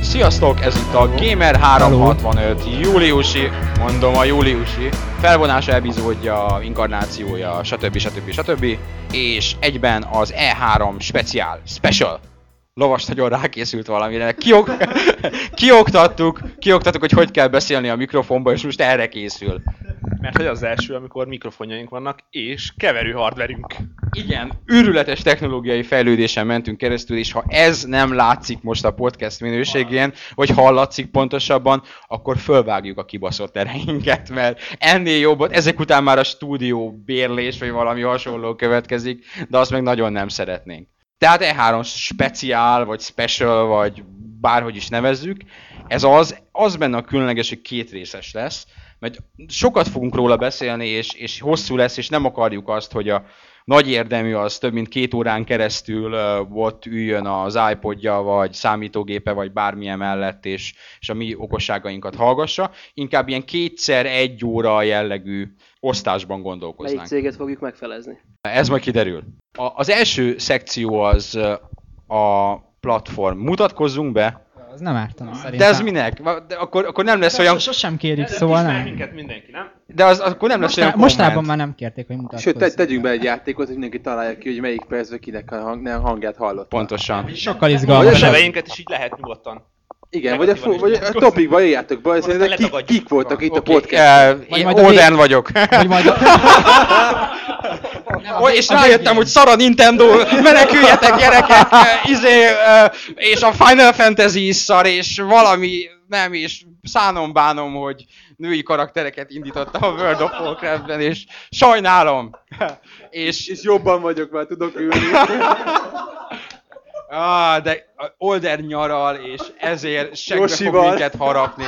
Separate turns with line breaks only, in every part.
Sziasztok, ez itt a Gamer365 júliusi, mondom a júliusi, felvonás epizódja, inkarnációja, stb. stb. stb. És egyben az E3 speciál, special. Lovas nagyon rákészült valamire. Kiok... kioktattuk, kioktattuk, hogy hogy kell beszélni a mikrofonba, és most erre készül.
Mert hogy az első, amikor mikrofonjaink vannak, és keverő hardverünk.
Igen, őrületes technológiai fejlődésen mentünk keresztül, és ha ez nem látszik most a podcast minőségén, vagy hallatszik pontosabban, akkor fölvágjuk a kibaszott ereinket, mert ennél jobbat, ezek után már a stúdió bérlés, vagy valami hasonló következik, de azt meg nagyon nem szeretnénk. Tehát E3 speciál, vagy special, vagy bárhogy is nevezzük, ez az, az benne a különleges, hogy két részes lesz, mert sokat fogunk róla beszélni, és, és hosszú lesz, és nem akarjuk azt, hogy a nagy érdemű az több mint két órán keresztül ö, ott üljön az iPodja, vagy számítógépe, vagy bármilyen mellett, és, és a mi okosságainkat hallgassa. Inkább ilyen kétszer egy óra jellegű osztásban
Melyik
gondolkoznánk.
céget fogjuk megfelezni?
Ez majd kiderül. A, az első szekció az ö, a platform. Mutatkozzunk be.
Az nem ártana szerintem.
De ez minek? Va- De akkor, akkor nem lesz olyan,
Sosem kérjük, szóval
ismer
nem.
minket mindenki, nem?
de az, akkor nem lesz olyan
Mostá- mostában
komment.
már nem kérték, hogy mutatkozzon.
Sőt, te, tegyünk be egy játékot, hogy mindenki találja ki, hogy melyik percben kinek a hang, nem, hangját hallott.
Pontosan.
Sokkal
Vagy a
izgalmas.
neveinket is így lehet nyugodtan.
Igen, vagy a,
Negatívan
fo-
is
vagy a
nyilatkozunk.
topikba írjátok be, hogy szerintem kik,
letagadjuk.
kik voltak itt
Oké,
a podcast.
eh,
Vagy
Én
majd a
Oden vagyok.
Vagy majd a...
Ó, és rájöttem, hogy szar a Nintendo, meneküljetek gyerekek, eh, izé, eh, és a Final Fantasy is szar, és valami, nem, és szánom bánom, hogy női karaktereket indította a World of Warcraftben, és sajnálom. És,
És jobban vagyok, már tudok ülni.
á, Ah, de Older nyaral, és ezért segbe fog
Josival.
minket harapni.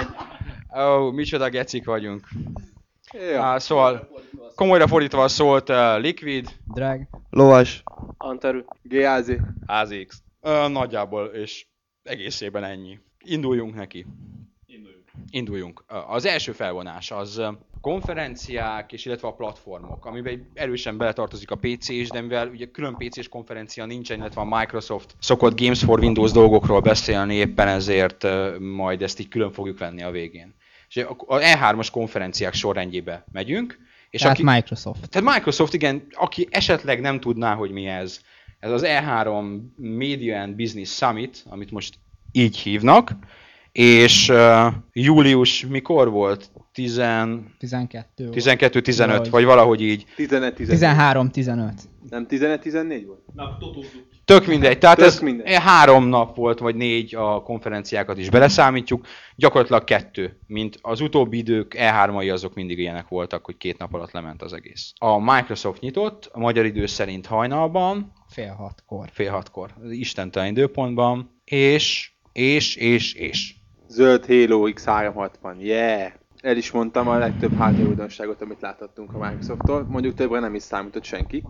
Ó, micsoda gecik vagyunk.
ja.
Á, szóval, komolyra fordítva szólt eh, Liquid,
Drág.
Lovas.
Antaru.
Géázi.
AZX.
Ö, nagyjából, és egészében ennyi. Induljunk neki. Induljunk. Ö, Az első felvonás az ö, konferenciák, és illetve a platformok, amiben erősen beletartozik a PC is, de mivel ugye külön PC-s konferencia nincsen, illetve a Microsoft szokott Games for Windows dolgokról beszélni, éppen ezért ö, majd ezt így külön fogjuk venni a végén. És a a E3-as konferenciák sorrendjébe megyünk, és
És Tehát
aki...
Microsoft.
Tehát Microsoft, igen, aki esetleg nem tudná, hogy mi ez, ez az E3 Media and Business Summit, amit most így hívnak, és uh, július mikor volt? 10
12 volt.
12-15,
Vagy.
vagy valahogy így.
11-14.
13-15.
Nem 11-14 volt?
Na, totózzuk.
Tök mindegy, tehát
Tök
ez e
mindegy.
három nap volt, vagy négy a konferenciákat is beleszámítjuk, gyakorlatilag kettő, mint az utóbbi idők E3-ai azok mindig ilyenek voltak, hogy két nap alatt lement az egész. A Microsoft nyitott, a magyar idő szerint hajnalban,
Fél hatkor.
fél hatkor, az istentelen időpontban, és, és, és, és.
Zöld Halo X360. Yeah! El is mondtam a legtöbb hardware újdonságot, amit láthattunk a Microsofttól. Mondjuk többre nem is számított senki.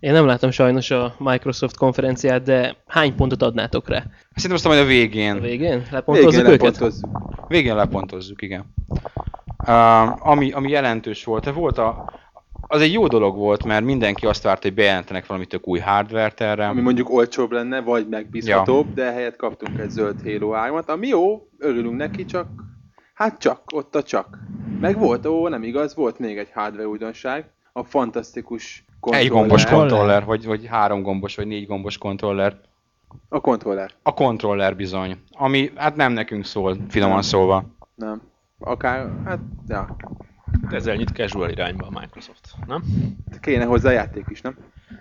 Én nem láttam sajnos a Microsoft konferenciát, de hány pontot adnátok rá?
Szerintem azt majd a
A
végén,
végén?
Végén
Lepontozzuk őket?
lepontozzuk.
végén lepontozzuk, igen. Uh, ami, ami jelentős volt, volt a, az egy jó dolog volt, mert mindenki azt várta, hogy bejelentenek valami tök új hardvert erre.
Ami mondjuk olcsóbb lenne, vagy megbízhatóbb, de helyett kaptunk egy zöld Halo 3-at, ami jó, örülünk neki, csak hát csak, ott a csak. Meg volt, ó, nem igaz, volt még egy hardware újdonság, a fantasztikus
egy
kontroller.
gombos
kontroller.
kontroller, vagy, vagy három gombos, vagy négy gombos kontroller.
A kontroller,
A kontroller bizony, ami hát nem nekünk szól, finoman szólva.
nem. Akár, hát, ja.
Ezzel nyit casual irányba a Microsoft, nem?
Kéne hozzá játék is, nem?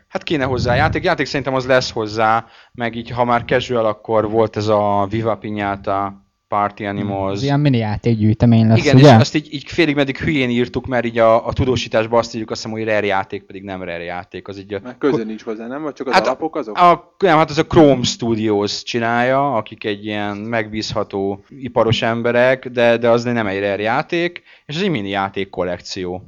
Hát kéne hozzá játék, játék szerintem az lesz hozzá, meg így ha már casual, akkor volt ez a Viva Pinyata, Party
Az
Animals.
Mm, ilyen mini játékgyűjtemény lesz,
Igen, és
ugye?
azt így, így félig meddig hülyén írtuk, mert így a, a tudósításban azt írjuk, azt hiszem, hogy rare játék, pedig nem rare játék. Az így a,
Mert közön nincs hozzá, nem? Vagy csak az
Hát
hát,
a-
alapok azok?
a, nem, hát az a Chrome Studios csinálja, akik egy ilyen megbízható iparos emberek, de, de az nem egy rare játék, és az egy mini játék kollekció.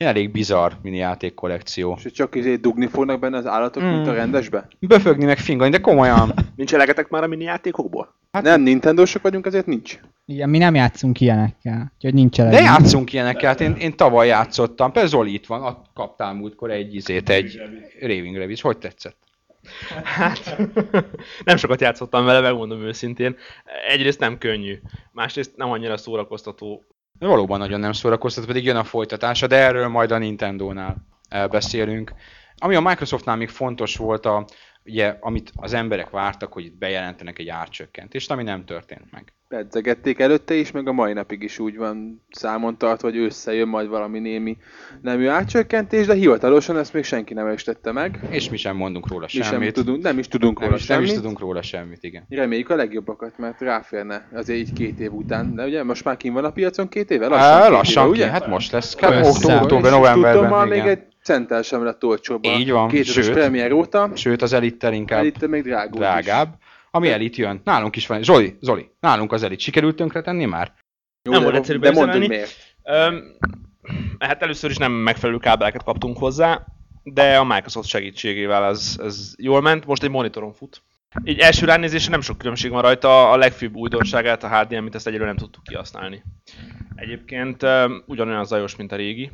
Ilyen elég bizarr mini játék kollekció.
És hogy csak izé dugni fognak benne az állatok,
Mm.
mint a rendesbe?
Böfögni meg fingani, de komolyan.
Nincs elegetek már a mini játékokból?
Hát nem, Nintendósok vagyunk, ezért nincs.
Igen, mi nem játszunk ilyenekkel. Úgyhogy nincs
De
elég.
játszunk ilyenekkel, hát én, én tavaly játszottam, például Zoli itt van, att, kaptál múltkor egy izét, egy Raving Rabbids, hogy tetszett?
Hát, nem sokat játszottam vele, megmondom őszintén. Egyrészt nem könnyű, másrészt nem annyira szórakoztató.
Valóban nagyon nem szórakoztat, pedig jön a folytatása, de erről majd a Nintendo-nál eh, beszélünk. Ami a Microsoftnál még fontos volt, a, ugye, amit az emberek vártak, hogy itt bejelentenek egy árcsökkentést, ami nem történt meg.
pedzegették előtte is, meg a mai napig is úgy van számon tartva, hogy összejön majd valami némi nemű átcsökkentés, de hivatalosan ezt még senki nem estette meg.
És mi sem mondunk róla
Mi
semmit.
sem tudunk, nem is tudunk
nem,
róla
is, nem is
semmit.
tudunk róla semmit, igen.
Reméljük a legjobbakat, mert ráférne azért így két év után, de ugye most már kint van a piacon két éve?
Lassan,
két
lassan
éve,
ki, hát most lesz. Kb.
Össze.
Október, október,
És Tudom,
novemberben.
már még
Igen.
egy centel sem lett olcsóbb a
Így van,
2000-es
sőt.
premier óta,
Sőt, az elittel
hát
inkább
itt még drágult is.
drágább. Ami elit jön. Nálunk is van. Zoli, Zoli, nálunk az elit. Sikerült tönkretenni már?
Jó,
Nem
de-
volt egyszerűbb
De mondd, hogy
üzemelni.
miért.
Öm, hát először is nem megfelelő kábeleket kaptunk hozzá, de a Microsoft segítségével ez, ez jól ment. Most egy monitoron fut. Így első ránézésre nem sok különbség van rajta, a legfőbb újdonságát, a HDMI, amit ezt egyelőre nem tudtuk kihasználni. Egyébként öm, ugyanolyan zajos, mint a régi.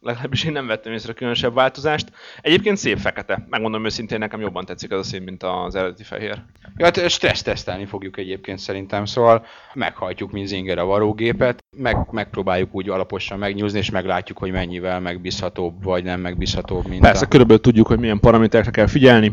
Legalábbis én nem vettem észre különösebb változást. Egyébként szép fekete. Megmondom őszintén, nekem jobban tetszik ez a szín, mint az eredeti fehér.
Ja, hát stressz tesztelni fogjuk egyébként szerintem, szóval meghajtjuk, mint zinger a varógépet, meg, megpróbáljuk úgy alaposan megnyúzni, és meglátjuk, hogy mennyivel megbízhatóbb, vagy nem megbízhatóbb, mint
Persze,
a...
körülbelül tudjuk, hogy milyen paraméterekre kell figyelni,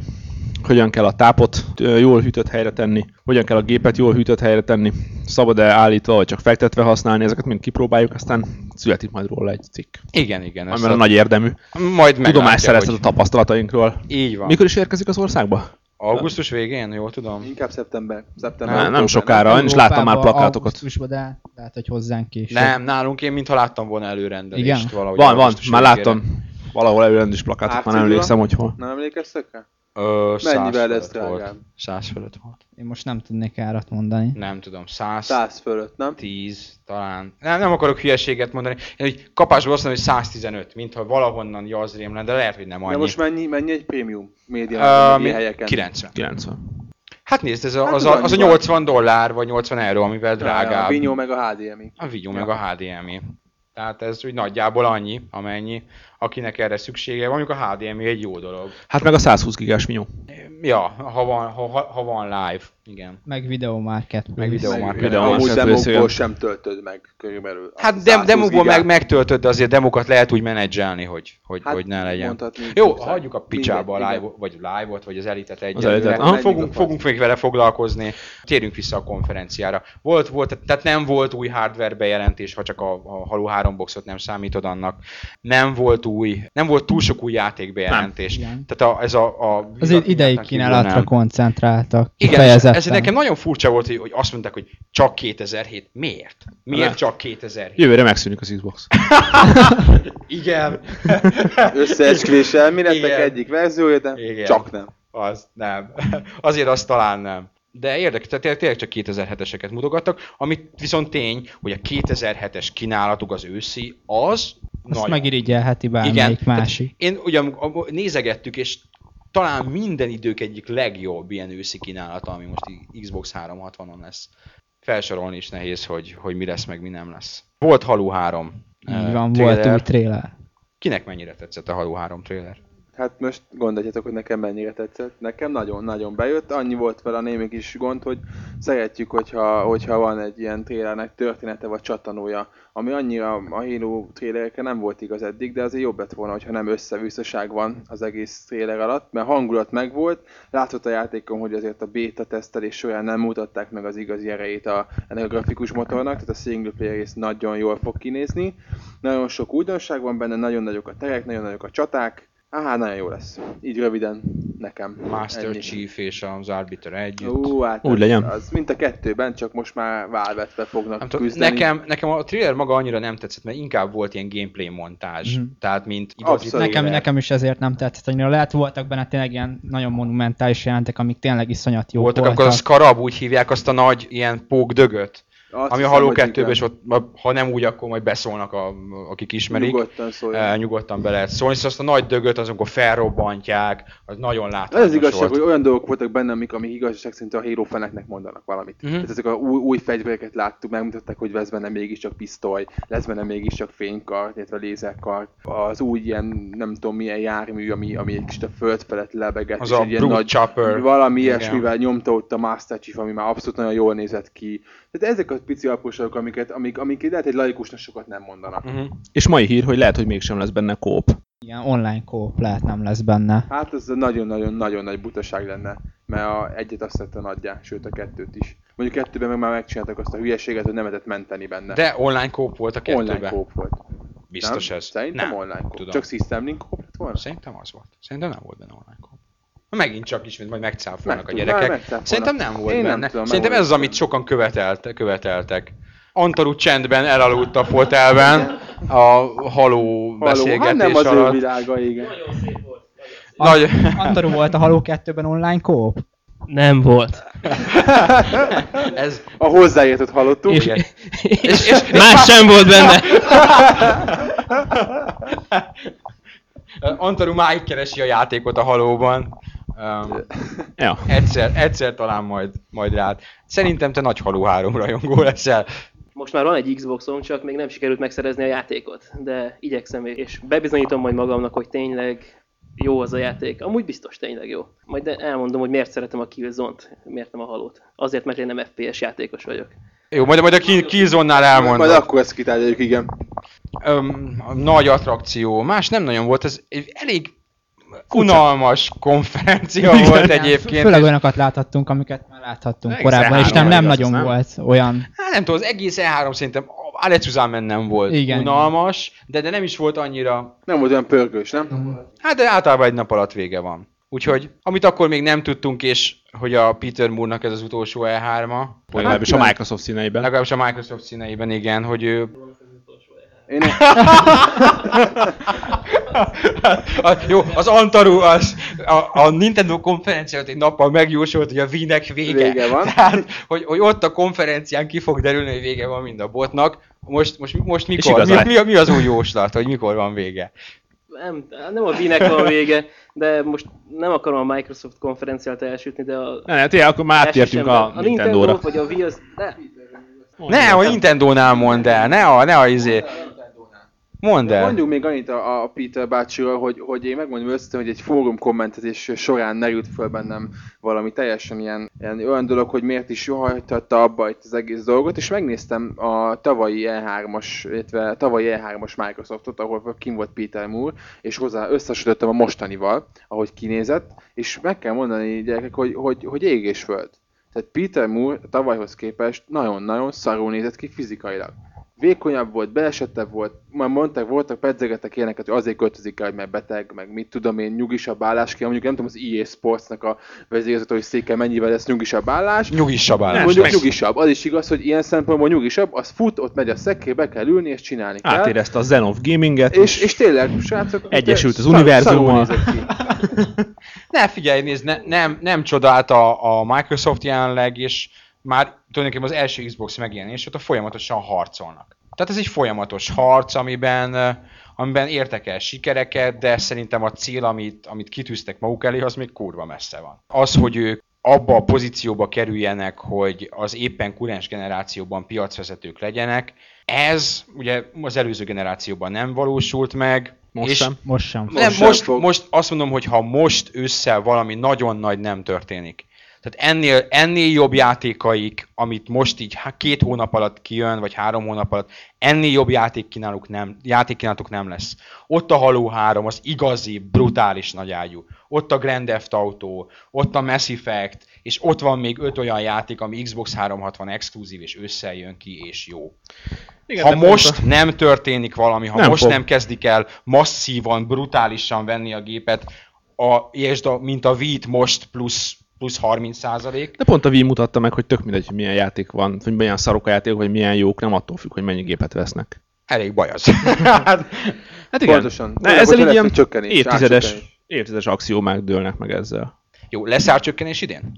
hogyan kell a tápot ö, jól hűtött helyre tenni, hogyan kell a gépet jól hűtött helyre tenni, szabad-e állítva, vagy csak fektetve használni, ezeket mind kipróbáljuk, aztán születik majd róla egy cikk,
Igen, igen. ezt
amiben a nagy érdemű
Majd meglátja,
tudomást szerezhet
hogy-
a tapasztalatainkról.
Így van. Mikor...
Mikor is érkezik az országba?
Augusztus végén, jól tudom?
Inkább szeptember. szeptember
Nem, nem
október,
sokára. Arra én is láttam már plakátokat.
Augusztusban, de lehet, hogy hozzánk később.
Nem, nálunk én mintha láttam volna előrendelést
Igen.
valahogy.
Van, van,
augusztus
már
végére.
láttam. Valahol előrend is
hát
plakátot, már nem
Árcigula?
emlékszem, hogy hol.
Nem emlékeztek rá?
Ö,
Mennyivel
100
lesz
fölött volt.
drágább?
100 fölött volt.
Én most nem tudnék árat mondani.
Nem tudom, 100,
100 fölött, nem?
10 talán. Nem, nem akarok hülyeséget mondani. Én hogy kapásból azt mondom, hogy 115, mintha valahonnan jazrém lenne, de lehet, hogy nem annyi.
De most mennyi, mennyi egy prémium média
Ö,
um,
mi-
helyeken?
90.
90.
Hát nézd, ez a,
Hát
az,
az
a, az a
annyi
80 dollár, vagy 80 euró, amivel
A
drágább.
Vinyó meg a HDMI.
A Vinyó meg a HDMI. Tehát ez úgy nagyjából annyi, amennyi, akinek erre szüksége van, mondjuk a HDMI egy jó dolog.
Hát meg a 120 gigás minyó.
Ja, ha van, ha, ha- ha van live, igen.
Meg Video Market.
Meg
Place.
Videó
Meg-
már
videó.
Amúgy
Market
demokból
részéről.
sem töltöd meg körülbelül. a
Hát dem,
120
demokból
gigát.
meg megtöltöd, de azért demokat lehet úgy menedzselni, hogy, hogy,
Hát,
hogy ne legyen.
mondhatni,
Jó,
igazán.
hagyjuk a picsába a
Mindegy,
live, vagy live-ot, vagy az elitet
elitet.
egyelőre.
Aha.
Aha, fogunk,
Menjünk
fogunk még vele foglalkozni. Térjünk vissza a konferenciára. Volt, volt, tehát nem volt új hardware bejelentés, ha csak a, a Halo 3 boxot nem számítod annak. Nem volt új, nem volt túl sok új játék bejelentés.
Igen.
Tehát a, ez a... a
Azért idei
kívül nem.
kínálatra koncentráltak.
Igen, és
kifejezetten.
ez nekem nagyon furcsa volt, hogy, hogy azt mondták, hogy csak 2007. Miért? Miért
Ne.
csak 2007?
Jövőre megszűnik az Xbox.
Igen.
Összeesküvés elméletek
Igen.
egyik verziója, de
Igen.
csak nem.
Az nem. Azért az talán nem. De érdekes, tehát té- tényleg csak 2007-eseket mutogattak, amit viszont tény, hogy a 2007-es kínálatuk az őszi, az
Azt
nagyon-
megirigyelheti
Igen,
bármelyik
tehát
másik.
Én ugye am- am- nézegettük, és talán minden idők egyik legjobb ilyen őszi kínálata, ami most i- Xbox 360-on lesz. Felsorolni is nehéz, hogy, hogy mi lesz, meg mi nem lesz. Volt Halo 3. eh,
Így van, volt
trailer.
új trailer.
Kinek mennyire tetszett a Halo 3 trailer?
Hát most gondoljátok, hogy nekem mennyire tetszett. Nekem nagyon-nagyon bejött. Annyi volt vele a némi kis gond, hogy szeretjük, hogyha, hogyha van egy ilyen trélernek története vagy csatanója, ami annyira a Halo trélerekre nem volt igaz eddig, de azért jobb lett volna, hogyha nem összevisszaság van az egész tréler alatt, mert hangulat megvolt, látszott a játékon, hogy azért a beta tesztelés során nem mutatták meg az igazi erejét a, ennek a grafikus motornak, tehát a single player rész nagyon jól fog kinézni. Nagyon sok újdonság van benne, nagyon nagyok a terek, nagyon nagyok a csaták, Áhá, nagyon jó lesz. Így röviden nekem.
Master
Ennyi.
Chief és az Arbiter együtt.
Ú, hát
Úgy
az-
legyen.
Az, mint a kettőben, csak most már válvetve fognak
Nem tudom,
küzdeni.
nekem, nekem a trailer maga annyira nem tetszett, mert inkább volt ilyen gameplay montázs.
Mhm.
Tehát, mint
Abszolút.
Nekem,
trailer.
nekem is ezért nem tetszett annyira. Lehet voltak benne tényleg ilyen nagyon monumentális jelentek, amik tényleg iszonyat jók
voltak,
voltak.
akkor a Scarab úgy hívják azt a nagy ilyen pókdögöt,
Azt
Ami a
hiszem,
Halo
hogy
2
igen.
és ott, ma- ha nem úgy, akkor majd beszólnak, a, akik ismerik.
Nyugodtan szóljon.
Eh, nyugodtan be lehet szólni, szóval azt a nagy dögöt, azon, amikor felrobbantják, az nagyon
Az,
látványos
az igazság,
volt.
hogy olyan dolgok voltak benne, amik, amik igazság szerint a Halo feneknek mondanak valamit.
Mhm.
Uh-huh. Tehát ezek a új, új fegyvereket láttuk, megmutatták, hogy lesz benne mégiscsak pisztoly, lesz benne mégiscsak fénykart, illetve lézerkart. Az új ilyen, nem tudom milyen jármű, ami, ami egy kicsit a föld felett lebeget.
Az
és
a
egy ilyen
Brute Chopper.
Valami
Igen.
ilyesmivel nyomta ott a Master Chief, ami már abszolút nagyon jól nézett ki. Tehát ezek a pici apróságok, amiket, amik, amik lehet egy laikusnak sokat nem mondanak.
Uh-huh.
És mai hír, hogy lehet, hogy mégsem lesz benne kóp.
Ilyen online kóp lehet nem lesz benne.
Hát ez nagyon-nagyon-nagyon nagy butaság lenne, mert a egyet azt tettem adják, sőt a kettőt is. Mondjuk kettőben meg már megcsináltak azt a hülyeséget, hogy nem lehetett menteni benne.
De online kóp volt a
online
kettőben.
kóp volt. Nem?
Biztos ez.
Szerintem nem, online kóp.
tudom.
Csak System Link kóp lett volna?
Szerintem az volt. Szerintem nem volt benne online kóp. Na, Megint csak ismét majd megcáfolnak a
Megtudom, már
gyerekek.
megcáfolnak.
Szerintem nem volt
Én nem
benne.
tudom, nem
Szerintem
volt
ez az, amit
benne.
sokan követelte, követeltek. Antal úgy csendben elaludt a fotelben a haló
Haló,
beszélgetés
hát nem az ő
alatt.
világa, igen.
Nagy...
Antaru volt a Halo 2-ben online kóp?
Nem volt.
ez,
A hozzáértőt hallottuk.
És,
És...
Igen.
és, és, és más sem volt benne.
Antaru máig keresi a játékot a halóban. Um,
Ja.
egyszer, egyszer talán majd, majd rád. Szerintem te nagy haló három rajongó leszel.
Most már van egy Xboxom, csak még nem sikerült megszerezni a játékot, de igyekszem, és bebizonyítom majd magamnak, hogy tényleg jó az a játék. Amúgy biztos tényleg jó. Majd elmondom, hogy miért szeretem a Killzone-t, miért nem a halót. Azért, mert én nem FPS játékos vagyok.
Jó, majd, majd a Ki- Killzone-nál
Majd
elmondom.
akkor ezt kitárgyaljuk, igen.
Öm, a nagy attrakció. Más nem nagyon volt, ez egy elég unalmas konferencia volt egyébként.
Főleg
és-
olyanokat láthattunk, amiket már láthattunk
Egészen
korábban, és nem,
három
nem
vagy az,
nagyon
nem?
volt olyan.
Hát nem tudom, az egész E3 szerintem Alecuzámen nem volt
Igen.
unalmas, de, de nem is volt annyira
Nem volt olyan pörgős, nem?
Hát de általában egy nap alatt vége van. Úgyhogy, amit akkor még nem tudtunk, és hogy a Peter Moore-nak ez az utolsó E3-a,
Vagy legalábbis
Hát
a
igen.
Microsoft színeiben.
legalábbis a Microsoft színeiben, igen, hogy ő...
Én
a, Hát, jó, az Antaru, az, a, a Nintendo konferencia előtt egy nappal megjósolt, hogy a Wii-nek vége.
Vége van.
Tehát, hogy, hogy ott a konferencián ki fog derülni, hogy vége van mind a botnak. Most, most, most mikor?
igaz
Mi,
lett.
mi, mi, az új jóslat, hogy mikor van vége?
Nem, nem a vinek van vége, de most nem akarom a Microsoft konferenciát elsütni, de a...
Hát
Ne, ne, tényleg, hát akkor már áttértünk a,
a Nintendo
Nintendo-ra.
vagy a Wii az... De,
Ne, a Nintendo-nál mondd el, ne a, ne a izé. Mondd
De.
el.
Mondjuk még annyit a, a Peter bácsiról, hogy, hogy én megmondom őszintén, hogy egy fórum kommentezés során merült föl bennem valami teljesen ilyen, ilyen olyan dolog, hogy miért is hagyhatta abba itt az egész dolgot, és megnéztem a tavalyi E3-as, illetve tavalyi E3-as Microsoftot, ahol kim volt Peter Moore, és hozzá összesítettem a mostanival, ahogy kinézett, és meg kell mondani gyerekek, hogy, hogy, hogy ég és föld. Tehát Peter Moore tavalyhoz képest nagyon-nagyon szarul nézett ki fizikailag. Vékonyabb volt, belesettebb volt, már mondták, voltak, pedzegetek ilyeneket, hogy azért költözik el, hogy mert beteg, meg mit tudom én, nyugisabb állás kell, mondjuk nem tudom, az EA Sportsnak a vezérigazgatói széke mennyivel lesz nyugisabb állás,
Nyugisabb
nem,
állás.
mondjuk
meg-
nyugisabb. Az is igaz, hogy ilyen szempontból nyugisabb, az fut, ott megy a szekély, be kell ülni és csinálni kell.
Átérezte a Zen of Gaminget.
És, és tényleg, srácok,
Egyesült az
szar-
univerzummal.
szarul nézett ki.
Ne, figyelj, nézd, ne, nem, nem csodált a, a Microsoft jelenleg, és már tulajdonképpen az első Xbox megjelenés óta folyamatosan harcolnak. Tehát ez egy folyamatos harc, amiben, eh, amiben értek el sikereket, de szerintem a cél, amit, amit kitűztek maguk elé, az még kurva messze van. Az, hogy ők abba a pozícióba kerüljenek, hogy az éppen kurens generációban piacvezetők legyenek, ez ugye az előző generációban nem valósult meg,
Most
és
sem.
Most sem.
nem,
sem
most,
fog.
most azt mondom, hogy ha most ősszel valami nagyon nagy nem történik, tehát ennél, ennél jobb játékaik, amit most így há- két hónap alatt kijön, vagy három hónap alatt, ennél jobb játékkínáluk nem, játékkínálatuk nem lesz. Ott a Halo 3, az igazi, brutális nagyágyú. Ott a Grand Theft Auto, ott a Mass Effect, és ott van még öt olyan játék, ami Xbox 360 exkluzív, és ősszel jön ki, és jó
Igen,
ha
de pont
most
a-
nem történik valami, ha
Nem
most
fog.
nem kezdik el masszívan, brutálisan venni a gépet, a, és a, mint a Vít most plusz, plusz 30 százalék,
De pont a Wii mutatta meg, hogy tök mindegy, hogy milyen játék van, hogy milyen szarok a játékok, vagy milyen jók, nem attól függ, hogy mennyi gépet vesznek.
elég baj az. hát,
Hát igen.
Pontosan.
De
Olyan,
ezzel
hogy
egy ilyen
lesz egy csökkenés,
évtizedes,
átcsökkenés.
évtizedes axiómák dőlnek meg ezzel.
jó, lesz árcsökkenés idén?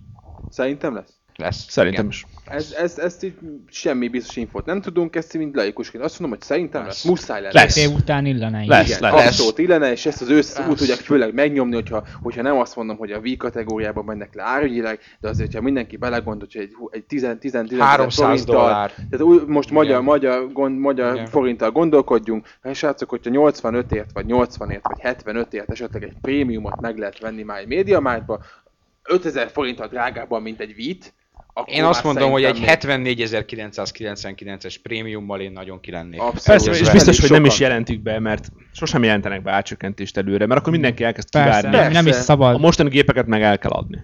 Szerintem lesz.
Lesz.
Szerintem
igen.
is.
Ez, ez, ezt így semmi biztos infót nem tudunk, ezt így mind laikusként. Azt mondom, hogy szerintem
Lesz.
lesz. muszáj lesz.
Lesz.
Év után illene így.
Lesz,
Igen,
lesz.
abszolút illene, és ezt az ősz
Lesz.
úgy tudják főleg megnyomni, hogyha, hogyha nem azt mondom, hogy a V kategóriában mennek le árügyileg, de azért, ha mindenki belegondolt, hogy egy, hú- egy
300
10-11
dollár.
Tehát új, most magyar,
Igen.
magyar, gond, magyar
Igen.
forinttal gondolkodjunk, hát srácok, hogyha 85-ért, vagy 80-ért, vagy 75-ért esetleg egy prémiumot meg lehet venni már egy médiamártba, 5000 forinttal drágábban, mint egy vít, akkor
Én azt
már
mondom, hogy egy
hát szerintem még-
74.999-es prémiummal én nagyon kilennék.
Abszolút.
Persze,
Ez
és
elég
biztos, hogy nem is
sokan.
jelentük be, mert sosem jelentenek be átcsökkentést előre, mert akkor mindenki elkezd
Persze,
kivárni.
nem, nem is
Persze.
A
szabad.
mostani gépeket meg el kell adni.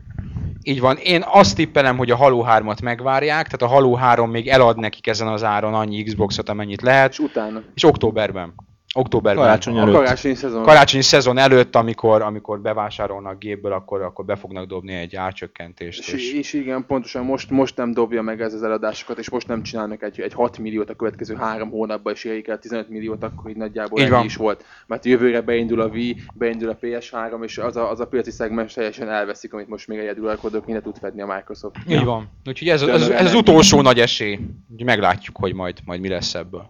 Így van. Én azt tippelem, hogy a Halo 3-at megvárják, tehát a Halo 3 még elad nekik ezen az áron annyi Xboxot, amennyit lehet,
És utána.
és októberben. Októberben.
Karácsony
A
előtt.
karácsonyi szezon.
karácsonyi szezon előtt, amikor, amikor bevásárolnak gépből, akkor, akkor be fognak dobni egy árcsökkentést.
És,
És...
és igen, pontosan most, most nem dobja meg ez az eladásokat, és most nem csinálnak egy, egy 6 milliót a következő három hónapban, és érik el 15 milliót, akkor így nagyjából
Így
így ennyi
van.
is volt. Mert jövőre beindul a Wii, beindul a PS3, és az a, az a piaci szegmens teljesen elveszik, amit most még egyedül alkodok, mindent tud fedni a Microsoft.
Így van. Úgyhogy ez, ez, ez, az
Tulajdonképpen.
utolsó nagy esély. Úgyhogy meglátjuk, hogy majd, majd mi lesz ebből.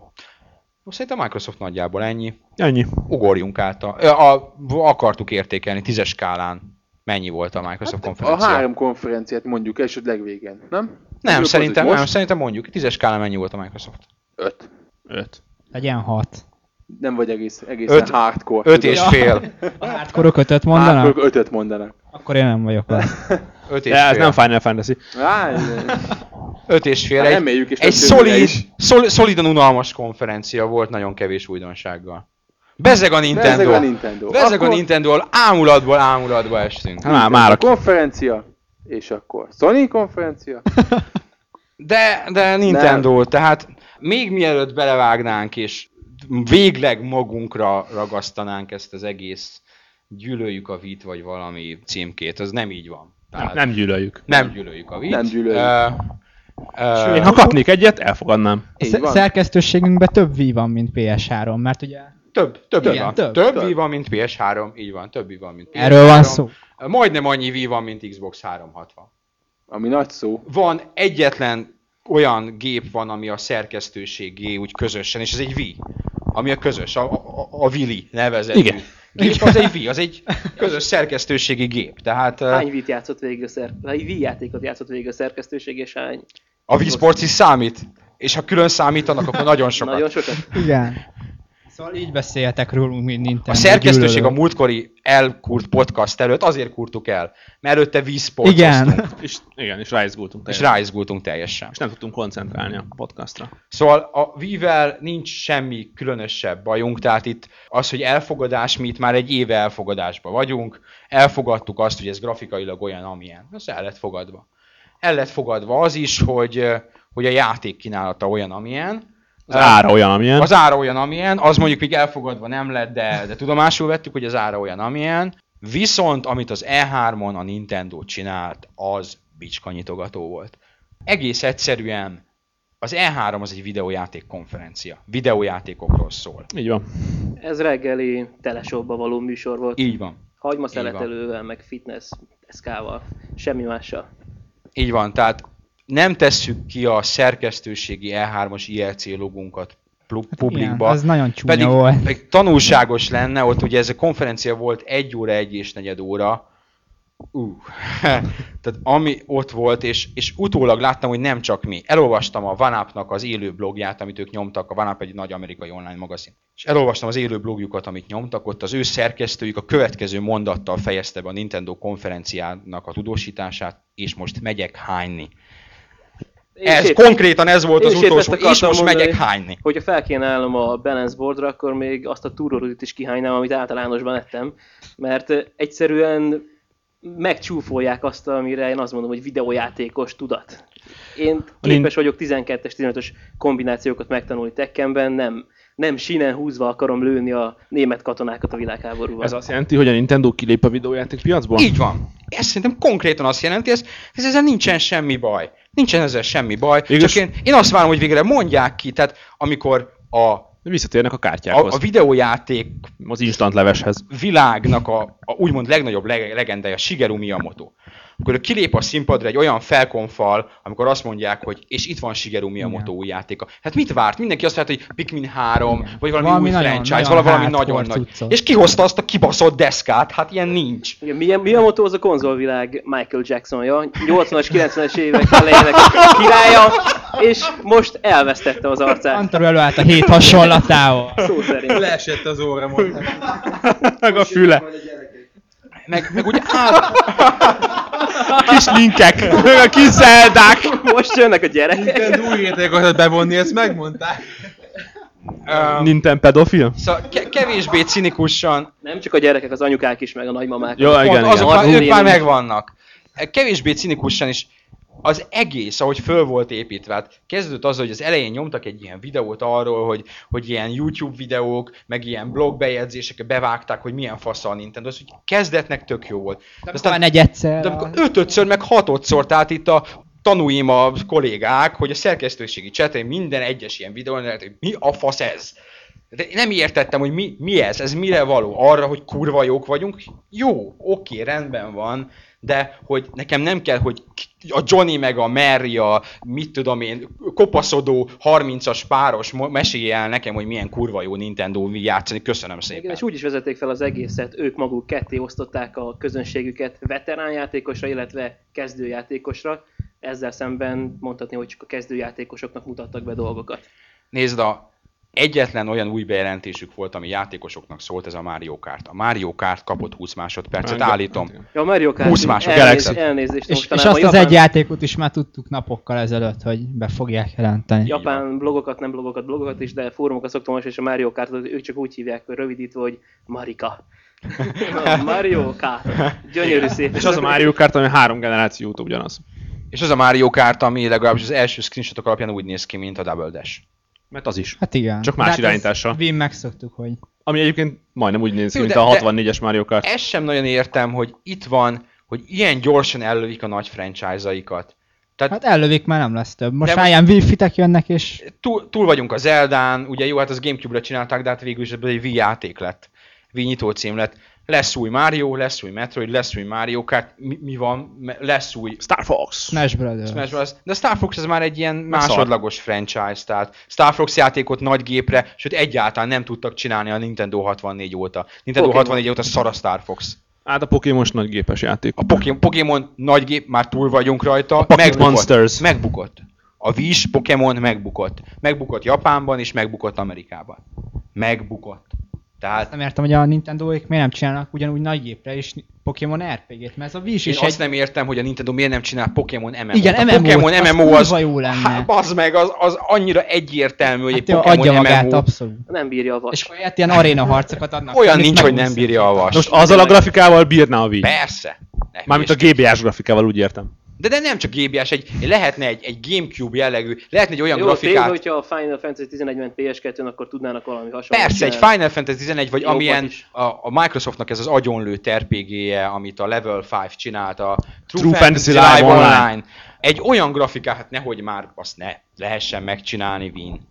Most szerintem a Microsoft nagyjából ennyi.
Ennyi.
Ugorjunk át. A, a, a, akartuk értékelni tízes skálán. Mennyi volt a Microsoft hát,
A
konferencia?
három konferenciát mondjuk elsődleg végén, nem?
nem, szerintem,
most
nem, szerintem mondjuk. Tízes skálán mennyi volt a Microsoft?
Öt.
Öt.
Legyen hat.
Nem vagy egész, egészen
Öt-
öt, hardcore.
Öt és fél.
A hardcore ötöt mondanak?
Hardcore ötöt mondanak.
Akkor én nem vagyok vele.
Öt és
De ez
fél.
nem Final Fantasy.
Á,
Öt és fél.
Hát
Egy,
reméljük, és
egy
nem tűnne
szolid,
is.
szol, szolidan unalmas konferencia volt, nagyon kevés újdonsággal. Bezeg a Nintendo.
Bezeg a Nintendo.
Bezeg a
Akkor-
Nintendo-al, ámulatból ámulatba estünk.
Hát Már, már
a
a
konferencia, és akkor Sony konferencia,
De, de Nintendo, Nem. tehát még mielőtt belevágnánk, és végleg magunkra ragasztanánk ezt az egész gyűlöljük a vít vagy valami címkét, az nem így van.
Nem, nem gyűlöljük.
nem gyűlöljük a vít.
Nem gyűlöljük.
Uh,
Én ha kapnék egyet, elfogadnám.
Így
A
van.
szerkesztőségünkben több Wii van, mint PS3, mert ugye
Több, több,
Igen,
van. Több,
több.
több,
Több.
Wii van, mint PS3, így van, több Wii van, mint PS3.
erről van szó.
Majdnem annyi Wii van, mint Xbox 360.
ami nagy szó.
Van egyetlen olyan gép van, ami a szerkesztőségé úgy közösen, és ez egy Wii, ami a közös, a, a, a Willy nevezetű.
Igen.
Gép, az egy Wii, az egy közös szerkesztőségi gép. Tehát ö,
Hány vít játszott végig a szerk... Hány Wii játékot játszott végig a szerkesztőség, és hány...
a Wii Sports is számít, és ha külön számítanak, akkor nagyon sokat.
Nagyon sokat.
Igen. Szóval így beszéltek rólunk, mint Nintendo.
A szerkesztőség a
gyűlölő.
múltkori elkurt podcast előtt azért kurtuk el, mert előtte Wii Sports
Igen.
És igen, és ráizgultunk
és
teljesen.
ráizgultunk teljesen.
És nem tudtunk koncentrálni a podcastra.
Szóval a Vivel nincs semmi különösebb bajunk, tehát itt az, hogy elfogadás, mi itt már egy éve elfogadásban vagyunk, elfogadtuk azt, hogy ez grafikailag olyan, amilyen. Ez el lett fogadva. El lett fogadva az is, hogy, eh, hogy a játék kínálata olyan, amilyen.
Az ára olyan, amilyen.
Az ára olyan, amilyen, az mondjuk még elfogadva nem lett, de, de tudomásul vettük, hogy az ára olyan, amilyen. Viszont, amit az E3-on a Nintendo csinált, az bicskanyitogató volt. Egész egyszerűen az E3 az egy videójáték konferencia. Videójátékokról szól.
Így van.
Ez reggeli telesobba való műsor volt.
Így van.
Hagyma
Így van.
szeletelővel, meg fitness eszkával. Semmi mással.
Így van, tehát nem tesszük ki a szerkesztőségi E E3-as IRC logunkat plu- publikba.
Hát Igen, az nagyon csúnya
Pedig,
volt.
pedig tanulságos lenne, ott ugye ez a konferencia volt egy óra, egy és negyed óra. Ú, tehát ami ott volt, és, és utólag láttam, hogy nem csak mi. Elolvastam a vanapnak az élő blogját, amit ők nyomtak, a Vanap egy nagy amerikai online magazin. És elolvastam az élő blogjukat, amit nyomtak, ott az ő szerkesztőjük a következő mondattal fejezte be a Nintendo konferenciának a tudósítását, és most megyek hányni.
Én
Ez
sét-
konkrétan ez volt
én
az
is épp ezt
utolsó, és
akartam
most
mondani.
megyek hányni.
Hogyha fel kéne állnom a balance boardra, akkor még azt a túrorudit is kihánynám, amit általánosban ettem, mert ö, egyszerűen megcsúfolják azt, amire én azt mondom, hogy videójátékos tudat. Én képes vagyok 12-es, 15-ös kombinációkat megtanulni tekkenben, nem, nem sinen húzva akarom lőni a német katonákat a világháborúban.
Ez azt jelenti, hogy a Nintendo kilép a videójáték piacból?
Így van. Ez szerintem konkrétan azt jelenti, ez, ez ezzel nincsen semmi baj. Nincsen ezzel semmi baj.
Végülis-
Csak én, én azt várom, hogy végre mondják ki, tehát amikor a, a,
Visszatérnek a kártyákhoz.
a videójáték
az instant leveshez.
világnak a, a úgymond legnagyobb leg, legendája Shigeru Miyamoto, amikor ő kilép a színpadra egy olyan felkonfal, amikor azt mondják, hogy és itt van Shigeru Miyamoto
Igen.
új játéka. Hát mit várt? Mindenki azt várt, hogy Pikmin 3,
Igen.
vagy valami,
Valami
új
nagyon-
franchise,
nagyon
valami, valami
hardcore
nagyon nagy.
cuccot.
És kihozta azt a kibaszott deszkát, hát ilyen nincs.
Ugye, milyen, Miyamoto az a konzolvilág Michael Jacksonja, 80-as, 90-es évek elejének királya, és most elvesztette az arcát.
Antal előállt a hét hasonlatával.
Szó szerint.
Leesett az óra most.
Meg a füle.
Meg, meg úgy áll...
Kis linkek. Meg a kis zeldák.
Most jönnek a gyerekek.
Nintendo új játékokat bevonni, ezt megmondták.
Um,
Nintendo pedofil?
szóval ke- kevésbé cinikusan
Nem csak a gyerekek, az anyukák is, meg a nagymamák.
Jó, igen, igen.
Pont azok,
Az
már- ők
úristen.
már megvannak. Kevésbé cinikusan is az egész, ahogy föl volt építve, hát kezdődött az, hogy az elején nyomtak egy ilyen videót arról, hogy, hogy ilyen YouTube videók, meg ilyen blog bejegyzések bevágták, hogy milyen fasz a Nintendo, az, hogy kezdetnek tök jó volt. De
Aztán negyedszer.
de amikor ötödször, meg hatodszor, tehát itt a tanúim a kollégák, hogy a szerkesztőségi csetén minden egyes ilyen videón lehet, hogy mi a fasz ez? De én nem értettem, hogy mi, mi ez, ez mire való? Arra, hogy kurva jók vagyunk? Jó, oké, rendben van, de hogy nekem nem kell, hogy ki- a Johnny meg a Mary, a mit tudom én, kopaszodó 30-as páros mo- mesélje el nekem, hogy milyen kurva jó Nintendo játszani, köszönöm szépen.
Igen, és úgy is vezették fel az egészet, ők maguk ketté osztották a közönségüket veteránjátékosra, illetve kezdőjátékosra. Ezzel szemben mondhatni, hogy csak a kezdőjátékosoknak mutattak be dolgokat.
Nézd, a egyetlen olyan új bejelentésük volt, ami játékosoknak szólt, ez a Mario Kart. A Mario Kart kapott 20 másodpercet,
Engem-
állítom.
Ja, a Mario Kart
20 mások, Galaxy.
elnézést,
és, és
mostanában
azt az
japán-
egy játékot is már tudtuk napokkal ezelőtt, hogy be fogják jelenteni.
Ja.
Japán blogokat, nem blogokat, blogokat is, de fórumokat szoktam olvasni, és a Mario Kartot ők csak úgy hívják, hogy rövidítve, hogy Marika. A Mario Kart. Gyönyörű szép.
És az a Mario Kart, ami három generáció óta ugyanaz.
És az a Mario Kart, ami legalábbis az első screenshotok alapján úgy néz ki, mint a Double Dash.
Mert az is.
Hát igen.
Csak más
De hát
irányítással.
ezt Mi megszoktuk, hogy
Ami egyébként majdnem úgy néz ki,
Jó,
mint
de-
a
de-
64-es Mario Kart.
Ezt sem nagyon értem, hogy itt van, hogy ilyen gyorsan ellövik a nagy franchise-aikat. Tehát
hát ellövik már nem lesz több. Most
De
már ilyen wifi-tek jönnek, és
túl, túl vagyunk a Zeldán, ugye jó, hát az Gamecube-ra csinálták, de hát végül is ebből egy Wii játék lett. Wii nyitó cím lett. Lesz új Mario, lesz új Metroid, lesz új Mario Kart, mi, mi van, Me- lesz új
Star Fox.
Smash Brothers.
Smash Bros. De a Star Fox ez már egy ilyen
szar.
másodlagos franchise, tehát Star Fox játékot nagy gépre, sőt egyáltalán nem tudtak csinálni a Nintendo 64 óta. Nintendo
Pokémon.
64 óta szar a Star Fox.
Hát a Pokémon nagy gépes játék.
A Pokémon, Pokémon nagy gép, már túl vagyunk rajta,
Pocket
megbukott.
Monsters.
Megbukott. A Wii Pokémon megbukott. Megbukott Japánban és megbukott Amerikában. Megbukott.
Azt
Tehát
Hát, nem értem, hogy a Nintendo-ék miért nem csinálnak ugyanúgy nagy gépre is Pokémon RPG-t, mert ez a Wii is
és
egy...
azt nem értem, hogy a Nintendo miért nem csinál Pokémon MMO-t.
Igen,
a
MMO-t,
Pokémon
az
MMO az,
kurva jó lenne.
Hát, bazd meg, az, az annyira egyértelmű, hogy hát
Hát jó,
egy
adja
Pokémon
magát,
MMO.
abszolút.
Nem bírja a vas.
És olyat ilyen aréna harcokat adnak.
Olyan
amit
nincs, hogy nem
megúszsz.
bírja a vas.
Most azzal a grafikával bírná a Wii.
Persze. Ne
Mármint a
hülyeskedj.
GBA-s grafikával úgy értem.
De, de nem csak GBS, egy, lehetne egy, egy Gamecube jellegű, lehetne egy olyan
Jó,
grafikát.
tényleg, hogyha a Final Fantasy 11 ment PS2-n, akkor tudnának valami hasonlót
Persze, egy
csinálni.
Final Fantasy 11, vagy
Jobbat
amilyen
is.
a, a, Microsoftnak ez az agyonlőtt RPG-je, amit a Level 5 csinált, a True,
True
Fantasy,
Fantasy
Live,
Live
Online.
Online.
Egy olyan grafikát, hát nehogy már azt ne lehessen megcsinálni Win.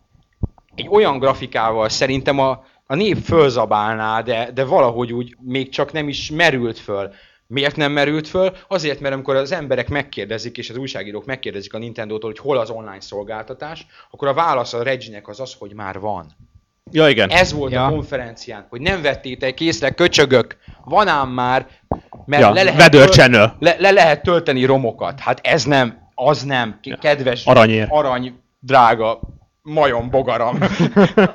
Egy olyan grafikával szerintem a, a nép fölzabálná, de, de valahogy úgy még csak nem is merült föl. Miért nem merült föl? Azért, mert amikor az emberek megkérdezik, és az újságírók megkérdezik a Nintendo-tól, hogy hol az online szolgáltatás, akkor a válasz a Reginek az az, hogy már van.
Ja igen.
Ez volt ja.
Ja.
a konferencián, hogy nem vettétek észre, köcsögök, van ám már, mert
Ja,
le, lehet
Weather
töl-
Channel.
le, le lehet tölteni romokat. Hát ez nem, az nem, K- kedves
Aranyér.
arany drága majom bogaram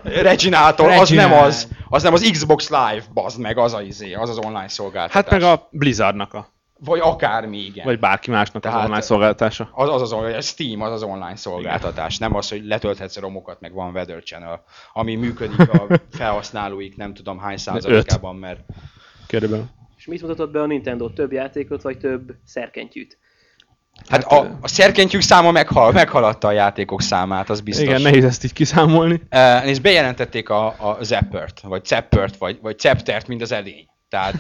Reginától, az
Reginald.
nem az, az nem az Xbox Live, bazd meg, az a izé, az az online szolgáltatás.
Hát meg a Blizzardnak a,
Vagy akármi, igen.
vagy bárki másnak
Tehát-
az online szolgáltása.
Az, az az, on- a Steam az az online szolgáltatás, nem az, hogy letölthetsz romokat, meg van Weather Channel, ami működik a felhasználóik nem tudom hány százalékában, mert
Körülbelül.
És mit mutatott be a Nintendo? Több játékot, vagy több szerkentyűt?
hát a, a szerkentyűk száma meghal, meghaladta a játékok számát, az biztos.
Igen, nehéz ezt így kiszámolni.
Eh, és bejelentették a, a Zeppert, vagy Zeppert, vagy, vagy Zeptert, mint az edény. Tehát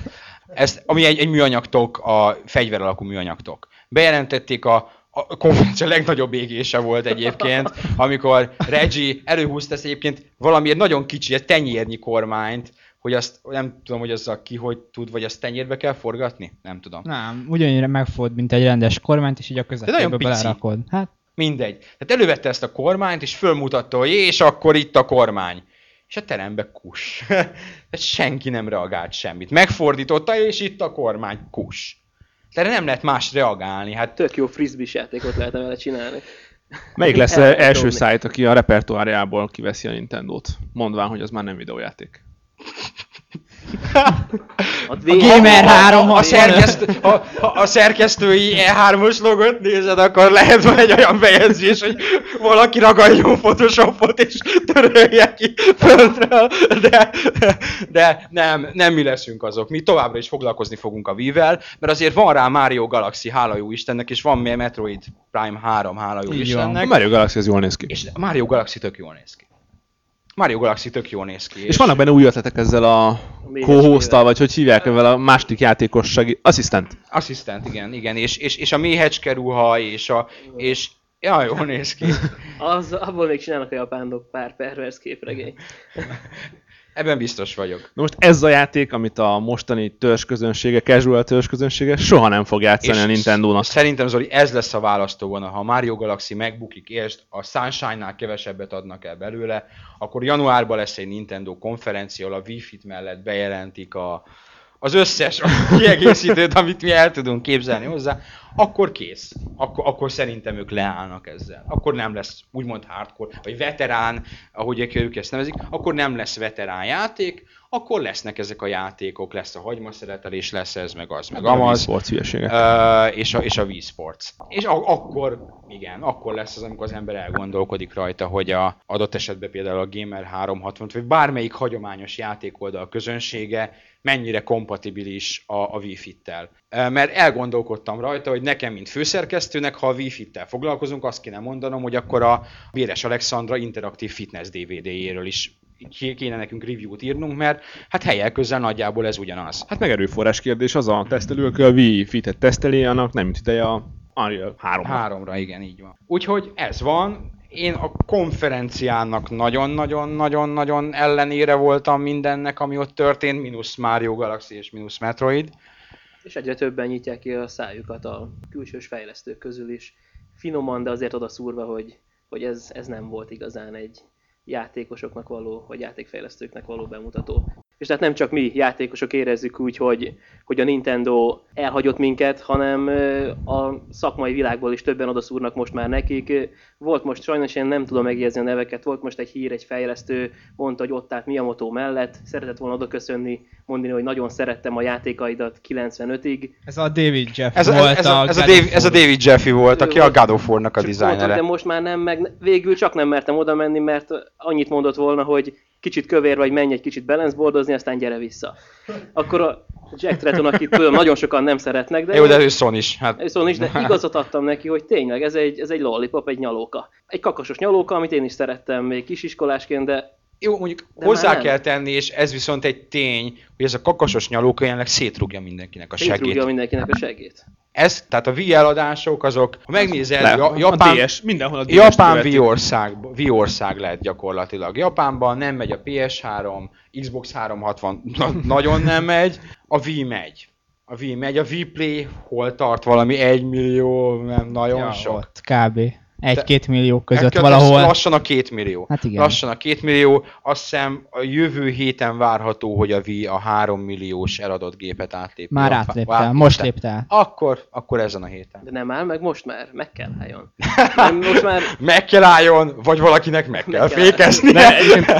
ez, ami egy, egy műanyagtok, a fegyver alakú műanyagtok. Bejelentették a, a konferencia legnagyobb égése volt egyébként, amikor Reggie előhúzta ezt egyébként valami egy nagyon kicsi, egy tenyérnyi kormányt, hogy azt nem tudom, hogy azzal ki hogy tud, vagy azt tenyérbe kell forgatni? Nem tudom.
Nem, ugyannyire megfogod, mint egy rendes kormányt, és így a
nagyon
közepébe
pici.
belerakod. Hát,
Mindegy. Tehát elővette ezt a kormányt, és fölmutatta, hogy és akkor itt a kormány. És a terembe kus. Tehát senki nem reagált semmit. Megfordította, és itt a kormány kus. Tehát nem lehet más reagálni. Hát
Tök jó frisbee játékot lehetne vele csinálni.
Melyik lesz
El-
el, első
dobni.
szájt, aki a repertoáriából kiveszi a Nintendo-t? Mondván, hogy az már nem videójáték.
A,
Gamer
ha- ha-
360.
ha, szerkesztő, ha, ha a szerkesztői E3-os logot nézed, akkor lehet van egy olyan bejegyzés, hogy valaki ragadjon Photoshopot és törölje ki földről, de, de nem, nem mi leszünk azok. Mi továbbra is foglalkozni fogunk a Wii-vel, mert azért van rá Mario Galaxy, hála jó Istennek, és van még Metroid Prime 3, hála jó
Így van.
A
Istennek.
Mario Galaxy az jól néz ki. És,
És Mario Galaxy tök jól néz ki. Mario Galaxy tök jól néz ki.
és vannak benne új ötletek ezzel a
négyes
co
ével.
vagy hogy hívják ezzel a másik játékos segít... Asszisztent.
Asszisztent, igen, igen, és, és, és a méhecske ruha, és a... És, ja, jól néz ki.
az, abból még csinálnak a japánok pár pervers képregény.
Ebben biztos vagyok.
Na most ez a játék, amit a mostani törzsközönsége, casual törzsközönsége soha nem fog játszani
És
a Nintendo-nak.
Szerintem Zoli, ez lesz a választóvonal. Ha a Mario Galaxy megbukik, és a Sunshine-nál kevesebbet adnak el belőle, akkor januárban lesz egy Nintendo konferencia, ahol a Wii Fit mellett bejelentik a, az összes kiegészítőt, amit mi el tudunk képzelni hozzá, akkor kész. Akkor, akkor szerintem ők leállnak ezzel. Akkor nem lesz úgymond hardcore, vagy veterán, ahogy ők- ők ezt nevezik, akkor nem lesz veterán játék, akkor lesznek ezek a játékok, lesz a hagymaszeretelés, lesz ez, meg az, meg amaz.
Sports hülyesége.
Ö, és a, és a Wii Sports. És a, akkor, igen, akkor lesz az, amikor az ember elgondolkodik rajta, hogy a adott esetben például a Gamer 360 vagy bármelyik hagyományos játékoldal közönsége mennyire kompatibilis a, a Wii Fit-tel. Ö, Mert elgondolkodtam rajta, hogy nekem, mint főszerkesztőnek, ha a Wii Fit-tel foglalkozunk, azt kéne mondanom, hogy akkor a Véres Alexandra interaktív fitness DVD-jéről is ki- kéne nekünk review-t írnunk, mert hát helyel közel nagyjából ez ugyanaz.
Hát meg erőforrás kérdés, az a tesztelő, aki a Wii Fit-et teszteli, annak nem jut ideje a Unreal 3
Háromra, igen, így van. Úgyhogy ez van. Én a konferenciának nagyon-nagyon-nagyon-nagyon ellenére voltam mindennek, ami ott történt, mínusz Mario Galaxy és mínusz Metroid.
És egyre többen nyitják ki a szájukat a külsős fejlesztők közül is. Finoman, de azért oda szúrva, hogy, hogy ez, ez nem volt igazán egy játékosoknak való, vagy játékfejlesztőknek való bemutató. És tehát nem csak mi játékosok érezzük úgy, hogy, hogy a Nintendo elhagyott minket, hanem ö, a szakmai világból is többen odaszúrnak most már nekik. Ö, Volt most, sajnos én nem tudom megjegyezni a neveket, volt most egy hír, egy fejlesztő mondta, hogy ott állt Miyamoto mellett, szeretett volna oda köszönni, mondani, hogy nagyon szerettem a játékaidat 95-ig,
ez a David Jeff
Ez, ez,
volt
ez, a, ez, a,
God of
David, ez a
War.
David Jeffy volt,
Ő
aki a
volt.
God of War-nak a
Csak mondtam,
dizájnere.
De most már nem, meg végül csak nem mertem oda menni, mert annyit mondott volna, hogy kicsit kövér vagy, menj egy kicsit balanceboardozni, aztán gyere vissza. Akkor a Jack Tretton, akit tudom, nagyon sokan nem szeretnek, de...
Jó, de ő Son is. Hát,
Viszont is, de igazat adtam neki, hogy tényleg ez egy, ez egy lollipop, egy nyalóka. Egy kakasos nyalóka, amit én is szerettem még kisiskolásként, de
jó, mondjuk
De
hozzá
már nem.
kell tenni, és ez viszont egy tény, hogy ez a kakasos nyalóka jelenleg szétrúgja mindenkinek a
szétrúgja
segít.
mindenkinek a segít.
Ez, tehát a VR adások, azok, ha megnézed,
Le,
ja-
a,
Japán,
a DS, mindenhol a DS
Japán
követi.
viország, viország lett gyakorlatilag. Japánban nem megy a PS3, Xbox 360 na, nagyon nem megy, a Wii megy. A Wii megy, a Wii Play hol tart valami 1 millió, nem nagyon
ja,
sok.
Ott, kb. Egy-két millió között
Ekkor
valahol.
lass- Lassan a két millió.
Hát igen.
Lassan a két millió. Azt hiszem a jövő héten várható, hogy a Wii a 3 milliós eladott gépet átlépi.
Már
Ott-
átlépte, most lépte át.
Akkor, akkor ezen a héten.
De nem áll meg most már, meg kell álljon. Nem, Most már
Meg kell álljon, vagy valakinek meg kell,
kell álljon.
fékezni.
De egyébként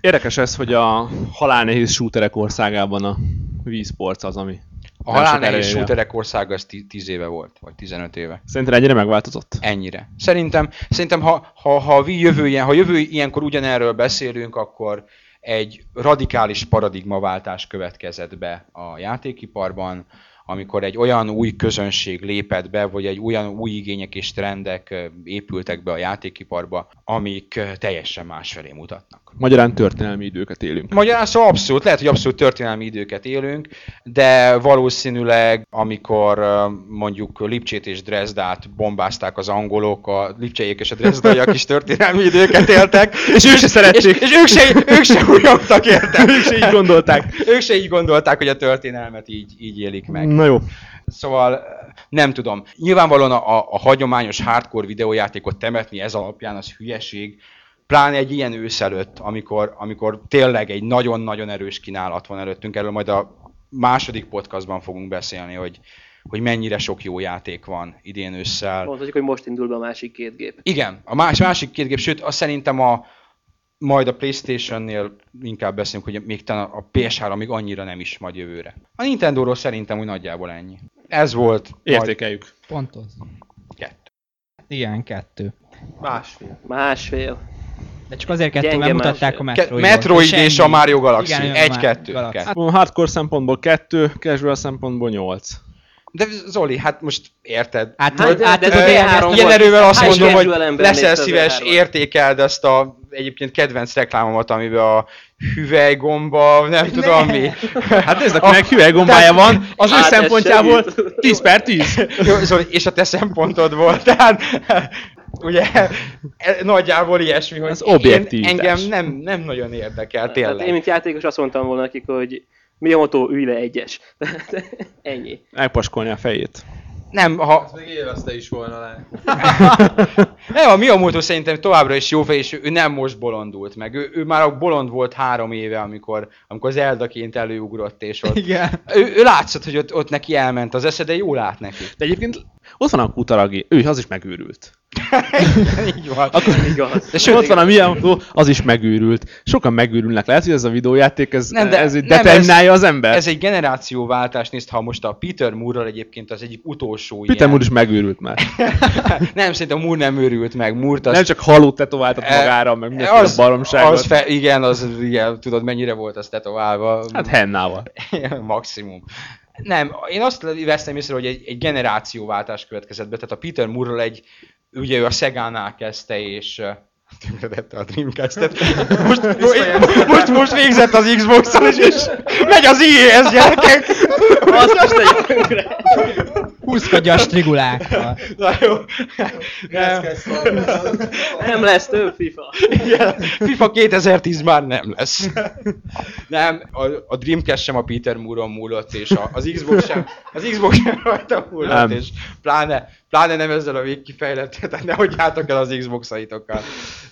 érdekes ez, hogy a halálnehéz shooterek országában a Wii Sports az, ami
A
nem
halál
sok
nehéz
erővel.
shooterek országa az 10 éve volt, vagy 15 éve.
Szerintem egyre megváltozott.
Ennyire. Szerintem, szerintem ha, ha, ha a Wii jövő, ilyen, ha jövő ilyenkor ugyanerről beszélünk, akkor egy radikális paradigmaváltás következett be a játékiparban, amikor egy olyan új közönség lépett be, vagy egy olyan új igények és trendek ö, épültek be a játékiparba, amik ö, teljesen másfelé mutatnak.
Magyarán történelmi időket élünk.
Magyarán szóval abszolút, lehet, hogy abszolút történelmi időket élünk, de valószínűleg, amikor ö, mondjuk Lipcsét és Dresdát bombázták az angolok, a lipcseiek és a drezdaiak is történelmi időket éltek, és ők se
szerették.
És, és ők se, ők se újongtak érte.
Ők se így gondolták.
Ők se így gondolták, hogy a történelmet így, így élik meg.
Na jó.
Szóval nem tudom. Nyilvánvalóan a, a, a hagyományos hardcore videójátékot temetni ez alapján az hülyeség, pláne egy ilyen ősz előtt, amikor, amikor tényleg egy nagyon-nagyon erős kínálat van előttünk, erről majd a második podcastban fogunk beszélni, hogy, hogy mennyire sok jó játék van idén ősszel.
Mondhatjuk, hogy most indul be a másik két gép.
Igen, a más, másik két gép, sőt, azt szerintem a, majd a Playstation-nél inkább beszélünk, hogy még talán a PS3 még annyira nem is majd jövőre. A Nintendo-ról szerintem úgy nagyjából ennyi. Ez volt majd
Értékeljük.
Pontoz.
kettő.
Igen, Hát kettő.
Másfél.
Másfél.
De csak azért kettő,
Gyenge
mert mutatták a
másfél.
Ke-
Metroid.
Metroid és a Mario Galaxy.
Igen, a Mario
Egy-kettő.
Galaxy.
Hát, Hardcore szempontból 2, casual szempontból 8.
De Zoli, hát most érted?
Át
Hát,
tudod,
de-
át
de
tudod
ez a
élvezni.
három
Ilyen
volt.
erővel azt
Hát,
mondom,
és
hogy
casual ember
leszel
nézte az
szíves,
E3-at.
értékeld ezt a egyébként kedvenc reklámomat, amiben a hüvelygomba, nem tudom mi.
Hát nézd,
A-
akinek hüvelygombája
Tehát-
van, az ő
Hát, ez
szempontjából
segít.
10 per 10.
Hát-
Jó, Zoli, és a te szempontod volt, tehát ugye e- nagyjából ilyesmi, hogy
Az objektivitás.
Én, engem nem, nem nagyon érdekel,
Tehát Hát én,
tényleg.
mint játékos azt mondtam volna nekik, hogy mi a motó, ülj le egyes. Ennyi.
Megpaskolni a fejét.
Nem, ha,
Ezt még élvezte is volna le.
Nem, a Miyamoto szerintem továbbra is jó fej, és ő, ő nem most bolondult meg. Ő, ő már a bolond volt három éve, amikor, amikor Zeldaként előugrott, és ott...
Hát, Igen.
Ő, ő látszott, hogy ott, ott neki elment az esze, de jól állt neki.
De egyébként ott van a kutaragi, ő is, az is megőrült.
Így van.
Igaz.
De
Sőt, ott van a Miyamoto, az is megőrült. Sokan megőrülnek. Lehet, hogy ez a videójáték, ez,
Nem,
nem,
de-
de, ez így
nem,
determinálja az ember.
Ez egy generációváltás, nézd, ha most a Peter Moore-ral egyébként az egyik utolsó
Peter Moore is megőrült már.
ilyen. nem, szerintem Moore nem őrült meg, Moore
Nem csak halott tetováltat magára, meg mindenféle az, baromságot.
E- az fe, igen, az igen, tudod mennyire volt az tetoválva.
Hát hennával.
maximum. Nem, én azt veszem észre, hogy egy, egy generációváltás következett be, tehát a Peter moore egy, ugye ő a Szegánál kezdte, és ö, tönkretette a Dreamcast-et. Most, most, most, most végzett az Xbox-on, és, és megy az IE-hez, gyerekek!
Azt most egy...
Húzkodja a strigulákkal.
Na jó.
Ezt
Nem,
kell szólni.
Nem lesz több FIFA.
igen. FIFA 2010 már nem lesz. Nem, a, a Dreamcast sem a Peter Moore-on múlott, és a, az Xbox sem, az Xbox sem rajta múlott,
Nem.
és pláne, pláne nem ezzel a végkifejlett, tehát nehogy álltak el az Xbox-aitokkal.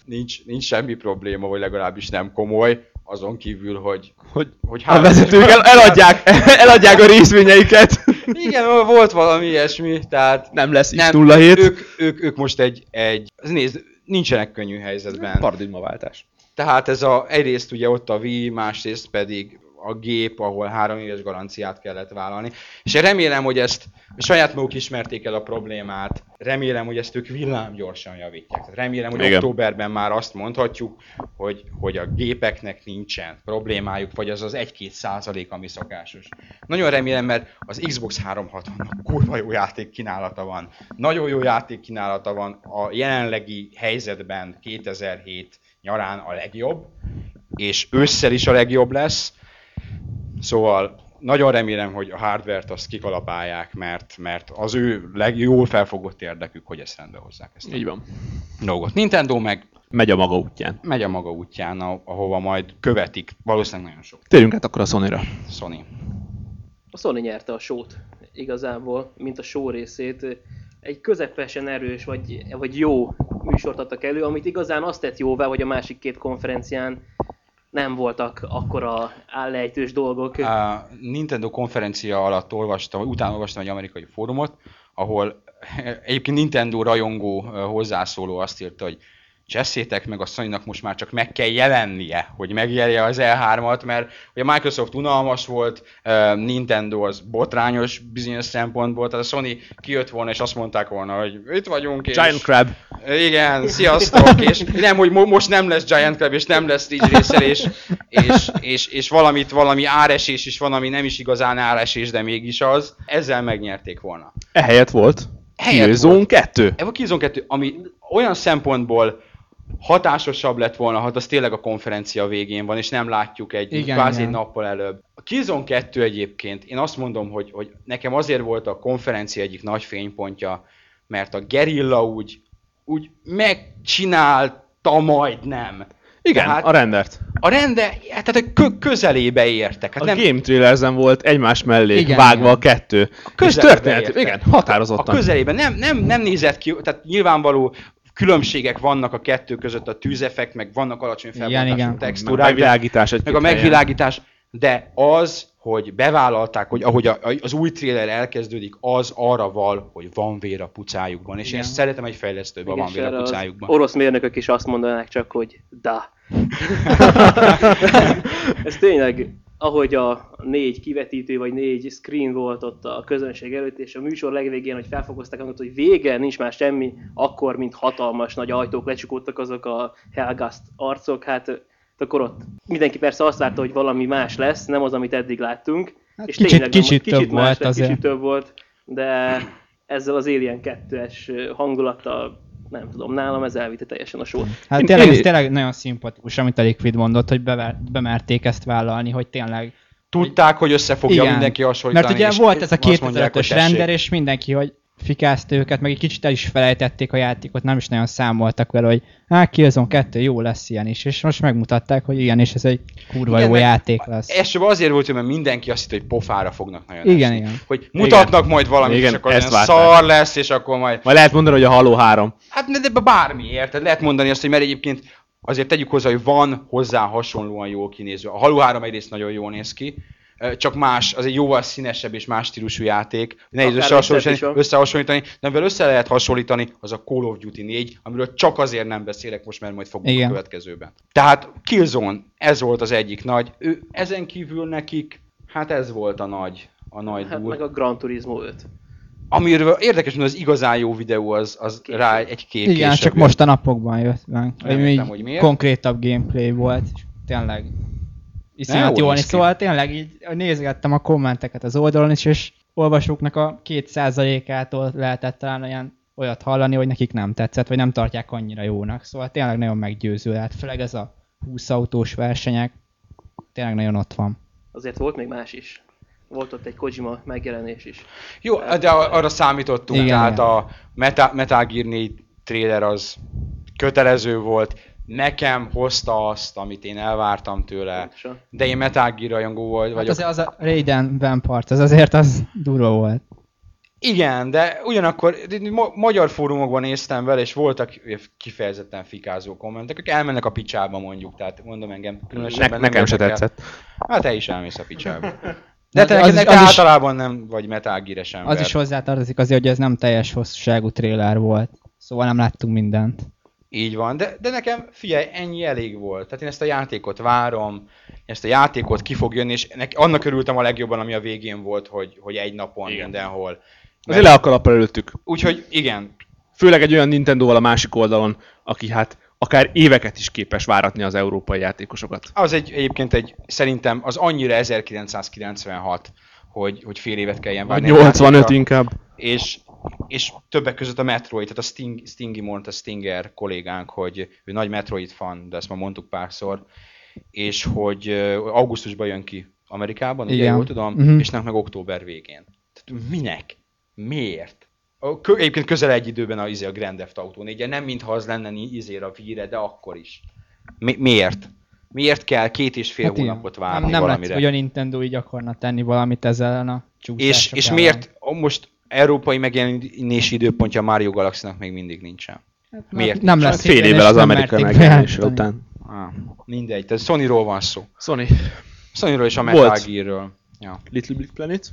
Nincs, nincs semmi probléma, vagy legalábbis nem komoly, azon kívül, hogy...
Hogy
hogy
a vezetők el, eladják, eladják a részvényeiket.
Igen, volt valami ilyesmi, tehát...
Nem lesz
Nem,
nem, 0 7
Ők, ők, ők most egy, egy... Nézd, nincsenek könnyű helyzetben.
Paradigmaváltás.
Tehát ez a, egyrészt ugye ott a Wii, másrészt pedig a gép, ahol három éves garanciát kellett vállalni. És én remélem, hogy ezt saját maguk ismerték el a problémát, remélem, hogy ezt ők villámgyorsan javítják. Tehát remélem, hogy
Igen.
októberben már azt mondhatjuk, hogy, hogy a gépeknek nincsen problémájuk, vagy az az 1-2 százalék, ami szokásos. Nagyon remélem, mert az Xbox 360-nak kurva jó játék kínálata van. Nagyon jó játék kínálata van. A jelenlegi helyzetben 2007 nyarán a legjobb, és ősszel is a legjobb lesz. Szóval nagyon remélem, hogy a hardvert azt kikalapálják, mert, mert az ő legjól felfogott érdekük, hogy ezt rendbe hozzák ezt a
Így van.
dolgot. Nintendo meg
Megy a maga útján.
megy a maga útján, a- ahova majd követik valószínűleg nagyon sok
Térjünk át akkor a Sony-ra.
Sony.
A Sony nyerte a sót igazából, mint a só részét. Egy közepesen erős, vagy, vagy jó műsort adtak elő, amit igazán azt tett jóvá, hogy a másik két konferencián nem voltak akkora állejtős dolgok.
A Nintendo konferencia alatt olvastam, vagy utána olvastam egy amerikai fórumot, ahol egyébként Nintendo rajongó ö, hozzászóló azt írta, hogy cseszétek meg a sony most már csak meg kell jelennie, hogy megjelje az E3-at, mert ugye a Microsoft unalmas volt, ö, Nintendo az botrányos bizonyos szempontból, tehát a Sony kijött volna, és azt mondták volna, hogy itt vagyunk, és...
Giant Crab.
Igen, sziasztok, és nem, hogy mo- most nem lesz Giant Crab, és nem lesz Ridge Racer, és, és, és, és valamit, valami áresés is van, ami nem is igazán áresés, de mégis az. Ezzel megnyerték volna.
Ehelyett E volt.
Ehelyett
Killzone 2.
Evo Killzone 2, ami olyan szempontból hatásosabb lett volna, ha az tényleg a konferencia végén van, és nem látjuk egy
Igen,
igen, kvázi
igen.
egy nappal előbb. A Killzone 2 egyébként, én azt mondom, hogy, hogy nekem azért volt a konferencia egyik nagy fénypontja, mert a gerilla úgy, úgy megcsinálta majdnem.
Igen,
Tehát
a rendert.
a rende, hát tehát a kö, közelébe értek. Hát
A
nem,
Game Thrillersen volt egymás mellé
Igen,
igen, vágva
igen.
a kettő. és
közelbe
történet,
érte.
igen,
a
határozottan.
közelében nem, nem, nem nézett ki, tehát nyilvánvaló különbségek vannak a kettő között, a tűzeffekt, meg vannak alacsony
Igen,
felbontású
igen.
a
textúrák, de
megvilágítás egy
meg a megvilágítás, de az, hogy bevállalták, hogy ahogy a, a- az új trailer elkezdődik, az arra val, hogy van vér a pucájukban, és én
Igen.
ezt szeretem egy fejlesztőben,
Igen,
van
és
vér
erre
a
az
pucájukban.
Orosz mérnökök is azt mondanák csak, hogy da. Ez tényleg, ahogy a négy kivetítő vagy négy screen volt ott a közönség előtt, és a műsor legvégén, hogy felfokozták annak, hogy vége, nincs már semmi, akkor, mint hatalmas nagy ajtók lecsukódtak azok a Helgast arcok, hát akkor ott mindenki persze azt várta, hogy valami más lesz, nem az, amit eddig láttunk.
Hát kicsit- kicsit
kicsit
több
más
volt
lett,
azért.
Kicsit több volt, de ezzel az Alien 2-es hangulattal, nem tudom, nálam ez elvitte teljesen a sót.
Hát
Én-
tényleg,
én-
ez tényleg nagyon szimpatikus, amit a Liquid mondott, hogy bever, bemerték ezt vállalni, hogy tényleg...
Tudták, hogy össze fogja mindenki hasonlítani.
Mert ugye
és
volt ez a
azt mondják, hogy
2005-ös render,
tessék.
és mindenki, hogy fikázt őket, meg egy kicsit el is felejtették a játékot, nem is nagyon számoltak vele, hogy hát Killzone 2 jó lesz ilyen is, és most megmutatták, hogy ilyen is, ez egy kurva
Igen,
jó
meg-
játék lesz.
Elsőben azért volt, mert mindenki azt hitt, hogy pofára fognak nagyon
Igen,
esni.
igen.
Hogy mutatnak igen. majd valamit, igen,
Igen,
és akkor
ezt
olyan
várták.
szar lesz, és akkor majd...
Majd lehet mondani, hogy a Halo 3.
Hát de de bármi, érted? Lehet mondani azt, hogy mert egyébként azért tegyük hozzá, hogy van hozzá hasonlóan jól kinéző. A Halo 3 egyrészt nagyon jól néz ki, ö, csak más, az egy jóval színesebb és más stílusú játék. Nehéz
Akár
összehasonlítani,
visszapisol.
összehasonlítani, de amivel össze lehet hasonlítani, az a Call of Duty 4, amiről csak azért nem beszélek most, mert majd fogunk Igen.
Igen.
a következőben. Tehát Killzone, ez volt az egyik nagy. Ő, ezen kívül nekik, hát ez volt a nagy, a nagy
Hát
durva.
meg a Gran Turismo 5.
Amiről érdekes, hogy az igazán jó videó az, az
Később.
rá egy két
Igen,
később
csak
jött.
most a napokban jött meg.
Nem
Ami
értem,
így
hogy miért.
konkrétabb gameplay volt, és tényleg
jól
iszonyat
néz
jól néz
ki.
Szóval tényleg így nézgettem a kommenteket az oldalon is, és olvasóknak a két százalékától lehetett talán olyan olyat hallani, hogy nekik nem tetszett, vagy nem tartják annyira jónak. Szóval tényleg nagyon meggyőző lehet, főleg ez a 20 autós versenyek, tényleg nagyon ott van.
Azért volt még más is. Volt ott egy Kojima megjelenés is.
Jó, de a- arra számítottunk, igen, tehát
Igen,
igen.
igen.
a Meta, Metal Gear 4 trailer az kötelező volt, nekem hozta azt, amit én elvártam tőle,
Pontosan.
de én Metal Gear rajongó volt,
Hát
vagyok.
azért az a Raiden Vampart, az azért az durva volt.
Igen, de ugyanakkor ma- magyar fórumokban néztem vele, és voltak kifejezetten fikázó kommentek, akik elmennek a picsába mondjuk, tehát mondom engem
Ne,
különösebben. nem
nekem se
érdekel.
tetszett.
Hát te is elmész a picsába. De
Hát
te
az
neked,
is-
neked
az is-
általában nem vagy Metal Gear-es ember.
Az is hozzátartozik azért, hogy ez nem teljes hosszúságú trailer volt. Szóval nem láttunk mindent.
Így van, de, de nekem figyelj, ennyi elég volt. Tehát én ezt a játékot várom, ezt a játékot ki fog jönni, és nek, annak örültem a legjobban, ami a végén volt, hogy, hogy egy napon igen.
Igen.
mindenhol.
Azért le a kalap előttük.
Úgyhogy igen,
Főleg egy olyan Nintendo-val a másik oldalon, aki hát akár éveket is képes váratni az európai játékosokat.
az egy, egyébként egy, szerintem az annyira 1996, hogy, hogy fél évet kelljen
Vagy
várni. egy
85
játékra.
inkább.
és, és többek között a Metroid, tehát a Sting, Stingy mondta Stinger kollégánk, hogy ő nagy Metroid fan, de ezt már mondtuk párszor, és hogy ö, augusztusban jön ki Amerikában, ugye
Igen.
jól tudom,
Mhm.
és nem meg október végén. Tehát minek? Miért? A, kö, egyébként közel egy időben a, izé, a Grand Theft Auto 4 nem mintha az lenne ni- izére a víre, de akkor is. Mi, miért? Miért kell két és fél hát
igen.
hónapot várni
nem, nem
valamire?
látszik, hogy a Nintendo így akarna tenni valamit ezzel a
És,
csúszások
és
ellen.
miért a most európai megjelenési időpontja a Mario Galaxy-nak még mindig nincsen? miért
Nem
nincs?
lesz
Hát Fél
igen,
évvel
és
az
nem
amerikai
merték
megjelenése
bejelenteni.
után.
Ah, mindegy, tehát Sonyról van szó.
Sony,
Sonyról és a
Volt.
Metal Gearről. Ja.
Little Big Planet?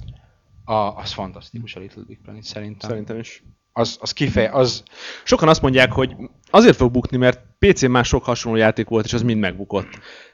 A, az fantasztikus a Little Big Planet szerintem.
Szerintem is.
Az, az kifej, az
Sokan azt mondják, hogy azért fog bukni, mert PC-n már sok hasonló játék volt, és az mind megbukott.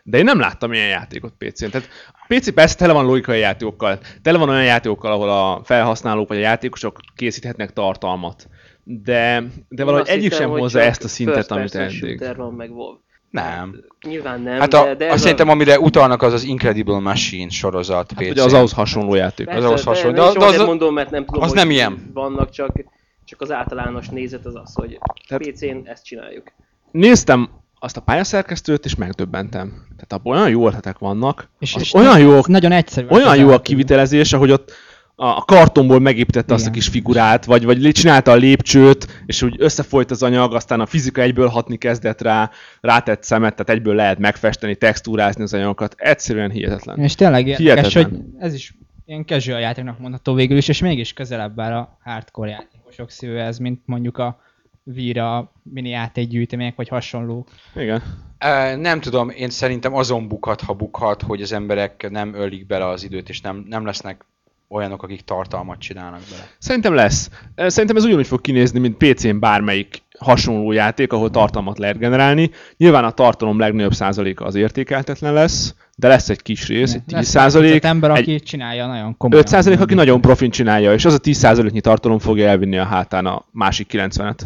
De én nem láttam ilyen játékot PC-n. Tehát a PC persze tele van logikai játékokkal, tele van olyan játékokkal, ahol a felhasználók vagy a játékosok készíthetnek tartalmat. De, de valahogy
Én azt
egyik
hittem,
sem
hogy
hozza
csak
ezt a szintet,
first
amit
person
eddig.
shooter van meg WoW.
nem.
Nyilván nem,
Hát
de,
a,
de
azt szerintem, amire utalnak, az az Incredible Machine sorozat
Hát
PC.
ugye az ahhoz hasonló játék.
az ahhoz hasonló.
De,
De-
de,
de az-
az, mondom, mert nem tudom,
az
hogy
nem ilyen.
Vannak csak, csak az általános nézet az az, hogy
Tehát-
PC-n ezt csináljuk.
néztem azt a pályaszerkesztőt, és megdöbbentem. Tehát abban olyan jó ötletek vannak,
És,
az
és
olyan
nagyon-
jó,
Nagyon egyszerű.
olyan jó a
Elképzelhető.
kivitelezés, ahogy ott a a kartonból megépítette azt a
Igen.
kis figurát, vagy, vagy lé- csinálta a lépcsőt, és úgy összefolyt az anyag, aztán a fizika egyből hatni kezdett rá, rátett szemet, tehát egyből lehet megfesteni, textúrázni az anyagokat. Egyszerűen hihetetlen.
És tényleg érdekes, hogy
Hihetetlen.
ez is ilyen casual játéknak mondható végül is, és mégis közelebb áll a hardcore játékosok szívéhez, mint mondjuk a víra, mini játékgyűjtemények vagy hasonló.
Igen.
Ö, nem tudom, én szerintem azon bukhat, ha bukhat, hogy az emberek nem ölik bele az időt, és nem, nem lesznek olyanok, akik tartalmat csinálnak bele.
Szerintem lesz. Szerintem ez ugyanúgy fog kinézni, mint PC-n bármelyik hasonló játék, ahol tartalmat lehet generálni. Nyilván a tartalom legnagyobb százaléka az értékeltetlen lesz, de lesz egy kis rész, egy 10 százalék,
Az ember,
egy
aki csinálja nagyon komolyan.
5 százalék, aki nagyon profin csinálja, és az a 10 százaléknyi tartalom fogja elvinni a hátán a másik 90-et.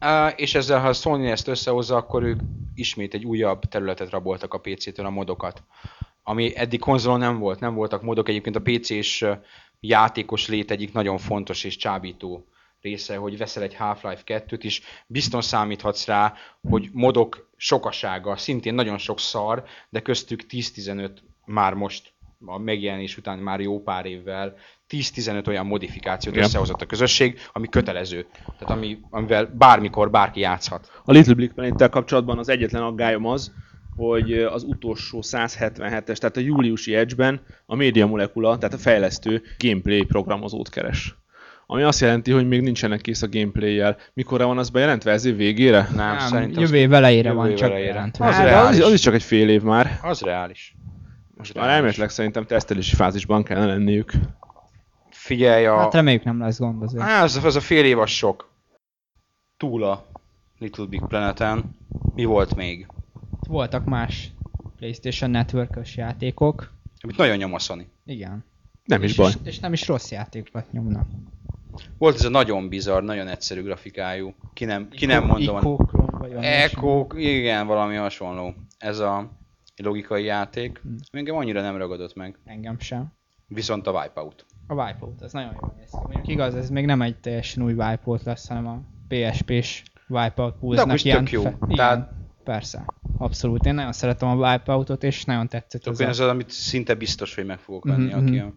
Ö, és ezzel, ha a Sony ezt összehozza, akkor ők ismét egy újabb területet raboltak a PC-től, a modokat. Ami eddig konzolon nem volt, nem voltak modok. Egyébként a PC-s ö, játékos lét egyik nagyon fontos és csábító része, hogy veszel egy Half-Life 2-t is, bizton számíthatsz rá, hogy modok sokasága, szintén nagyon sok szar, de köztük 10-15 már most a megjelenés után már jó pár évvel 10-15 olyan modifikációt
Igen.
összehozott a közösség, ami kötelező. Tehát ami, amivel bármikor bárki játszhat.
A Little Big planet kapcsolatban az egyetlen aggályom az, hogy az utolsó 177-es, tehát a júliusi Edge-ben a média molekula, tehát a fejlesztő gameplay programozót keres. Ami azt jelenti, hogy még nincsenek kész a gameplay-jel. Mikorra van az bejelentve? Ez év végére?
Nem,
Nem,
szerintem
jövő év elejére
jövő
van
év
csak
elejére.
jelentve.
Az
Hát, de az,
reális.
is- az is csak egy fél év már.
az reális.
Most már elméletileg szerintem tesztelési fázisban kellene lenniük.
Figyelj a... Hát-
Hát reméljük nem lesz gond azért.
Á, az, az a fél év az sok. Túl a Little Big Planeten. Mi volt még?
Voltak más PlayStation Network-ös játékok.
Amit nagyon nyom a Sony.
Igen.
Nem is
és,
baj.
És, és nem is rossz játékokat nyomnak.
Volt ez a nagyon bizarr, nagyon egyszerű grafikájú. Ki nem, ki nem mondom. a-
Ikókról, vagy valami
Echo, igen, valami hasonló. Ez a logikai játék.
Hm.
Engem annyira nem ragadott meg.
ilyesmi. Engem sem.
Viszont a Wipeout.
A Wipeout, ez nagyon jól néz ki. Mondjuk igaz, ez még nem egy teljesen új Wipeout lesz, hanem a PSP-s Wipeout
De akkor
pulse
is
ilyen...
tök jó.
Fe... Igen,
Tehát-
Persze. Abszolút. Én nagyon szeretem a Wipeoutot, és nagyon tetszett
Tök
ez
én
a...
az, az, amit szinte biztos, hogy meg fogok venni,
Mhm,
aki
mhm.
a...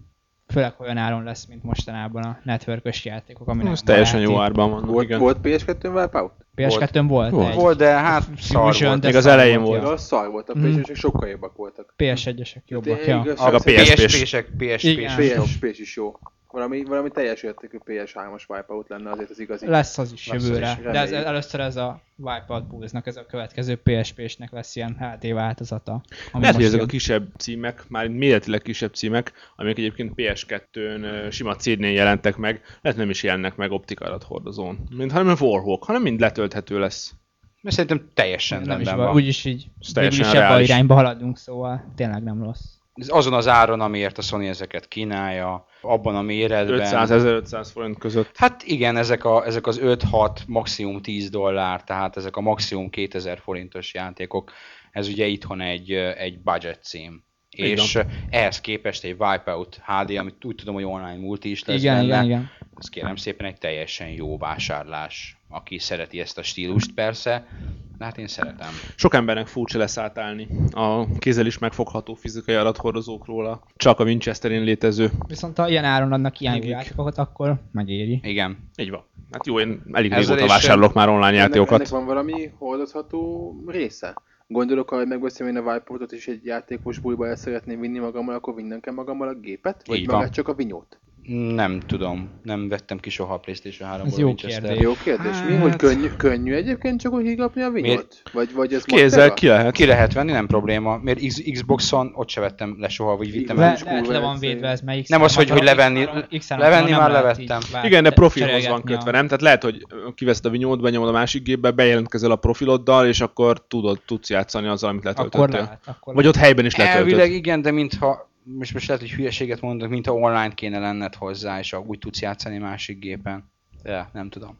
Főleg olyan áron lesz, mint mostanában a networkös játékok, ami
Ez teljesen jó árban van.
Volt,
Igen.
volt PS2-n Wipeout?
PS2-n volt,
Volt.
egy.
Volt, de hát szar
Fusion,
volt.
de
Még az
szar
elején
volt,
volt.
ja.
De az szar volt, a
Mhm.
PS-ek sokkal jobbak voltak.
Hát
PS1-esek jobbak,
De
ja.
igaz,
Meg a
szerintem
PSP-s.
PSP-sek, PSP-s.
Igen.
dolgok.
PSP-s is jó. Valami, valami teljes értékű PS3-as Wipeout lenne azért az igazi.
Lesz az is
Lesz az
jövőre.
is,
De ez,
reméljük.
először ez a Wipeout Pulse-nak, ez a következő PSP-snek lesz ilyen HD változata. ami
Lehet, hogy ezek
most
a
jön.
kisebb címek, már méretileg kisebb címek, amik egyébként PS2-n ö, sima CD-n jelentek meg, lehet nem is jelennek meg optikárat hordozón. Mint hanem a Warhawk, hanem mind letölthető lesz.
Mert szerintem teljesen
nem is
rendben
van.
van.
Úgyis így végül
teljesen
is ebbe a
reális.
irányba haladunk, szóval tényleg nem rossz.
Ez Azon az áron, amiért a Sony ezeket kínálja, abban a méretben.
500-1500 forint között.
Hát igen, ezek, a, ezek az 5-6, maximum 10 dollár, tehát ezek a maximum 2000 forintos játékok, ez ugye itthon egy, ö, egy budget cím.
Így
És ö, ehhez képest egy Wipeout HD, amit úgy tudom, hogy online multi is lesz
Igen,
benne,
igen, igen.
ez kérem szépen egy teljesen jó vásárlás. Aki szereti ezt a stílust persze, de hát én szeretem.
Sok embernek furcsa lesz átállni a kézzel is megfogható fizikai adathordozókról a csak a Winchesterin létező.
Viszont ha ilyen áron adnak ilyen jó
Mégik.
játékokat, akkor megéri.
Igen.
Így van. Hát jó, én elég
Ezzel
régóta
is-
vásárolok már online játékokat.
Ennek, ennek van valami hordozható része? Gondolok, ha megveszem én a Wipeoutot és egy játékos buliba el szeretném vinni magammal, akkor vinnem kell magammal a gépet? Vagy
Így van.
magát csak a vinyót?
Nem tudom, nem vettem ki soha a PlayStation 3-ból
Ez jó
Winchester-t.
kérdés.
Jó kérdés. Mi,
Hát-
hogy könnyű, könnyű egyébként csak úgy higapni a vinyót? Vagy, vagy ez
Kézzel
matteva?
ki lehet.
Ki lehet venni, nem probléma, mert X- Xboxon ott se vettem le soha, vagy vittem
Le-
el.
Le,
is
lehet
kurva
le van
egyszerű.
védve ez, melyik
Nem az, hogy- hogy levenni- levenni már levettem.
Igen, de profilhoz van kötve, nem? Tehát lehet, hogy kiveszed a vinyót, benyomod a másik gépbe, bejelentkezel a profiloddal, és akkor tudod, tudsz játszani azzal, amit
Akkor
letöltöttél.
lehet, akkor
Vagy ott helyben is letöltöd.
Elvileg igen, de mintha, most, most lehet, hogy hülyeséget mondok, mintha online kéne lenned hozzá, és a- úgy tudsz játszani másik gépen. De nem tudom.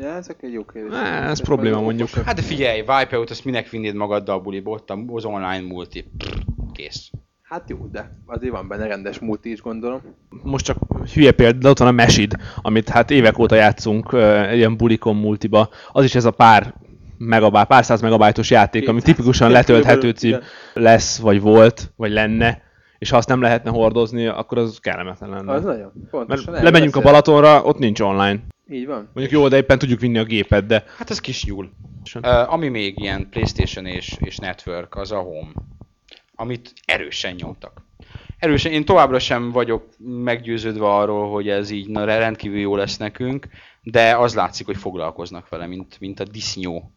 Ja, ezek egy jó kérdés.
Á, ez probléma mondjuk.
Hát de figyelj, Wipeout, azt minek vinnéd magaddal a buliba, ott a- az online multi. Pff, Kész.
Hát jó, de azért van benne rendes múlt is, gondolom.
Most csak hülye példa, de ott van a Mesid, amit hát évek óta játszunk ö, ilyen bulikon multiba. Az is ez a pár megabájt, pár száz megabájtos játék, ami tipikusan letölthető cím lesz, vagy volt, vagy lenne, és ha azt nem lehetne hordozni, akkor az kellemetlen lenne.
Az nagyon.
Mert
Pontosan. erről
lemegyünk a
beszélek.
Balatonra, ott nincs online.
Így van.
Mondjuk jó, de éppen tudjuk vinni a gépet, de
Hát ez kis nyúl.
Sem.
Uh, ami még ilyen Playstation és, és Network, az a Home. Amit erősen nyomtak. Erősen, én továbbra sem vagyok meggyőződve arról, hogy ez így na, rendkívül jó lesz nekünk, de az látszik, hogy foglalkoznak vele, mint, mint a disznyó.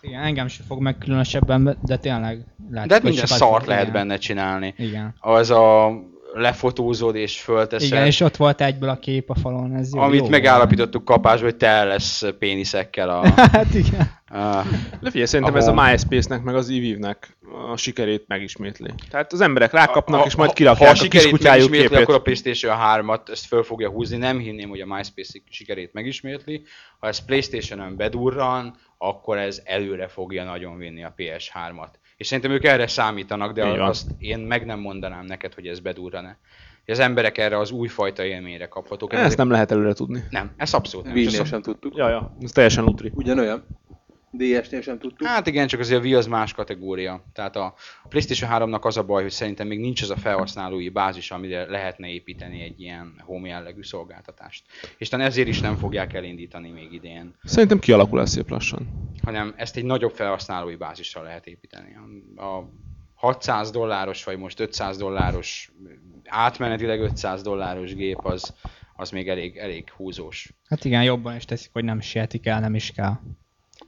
Igen, engem sem fog meg különösebben, de tényleg látszik,
De hát
hogy
minden
sokat-
szart lehet
igen.
benne csinálni.
Igen.
Az a lefotózod és fölteszed.
Igen, és ott volt egyből a kép a falon, ez jó.
amit
jó
megállapítottuk kapásban, hogy te lesz péniszekkel a...
volt. Hát igen.
a
De figyelj, szerintem
A
ez a
home.
MySpace-nek, meg az EVE-nek a sikerét megismétli. Tehát az emberek rákapnak, és majd
ha a
kirakják a kis
sikerét
kutyájuk
megismétli,
képét.
akkor a Playstation 3-at ezt föl fogja húzni. Nem hinném, hogy a MySpace sikerét megismétli. Ha ez Playstation-ön bedurran, akkor ez előre fogja nagyon vinni a PS3-at. És szerintem ők erre számítanak, de
Így van.
azt én meg nem mondanám neked, hogy ez bedurran-e. Az emberek erre az újfajta élményre kaphatók.
Ezt nem lehet előre tudni.
nem, ez abszolút nem.
Wii-nél
És az-
sem tudtuk.
Ja, ja, ez teljesen lutri.
Ugyanolyan. DS-nél sem tudtuk.
Hát igen, csak azért a Wii az más kategória. Tehát a PlayStation 3-nak az a baj, hogy szerintem még nincs az a felhasználói bázis, amire lehetne építeni egy ilyen home jellegű szolgáltatást. És talán ezért is nem fogják elindítani még idén,
Szerintem kialakul ez szép lassan.
hanem ezt egy nagyobb felhasználói bázisra lehet építeni. A 600 dolláros, vagy most 500 dolláros, átmenetileg 500 dolláros gép az, az még elég, elég húzós.
Hát igen, jobban is teszik, hogy nem sietik el, nem is kell.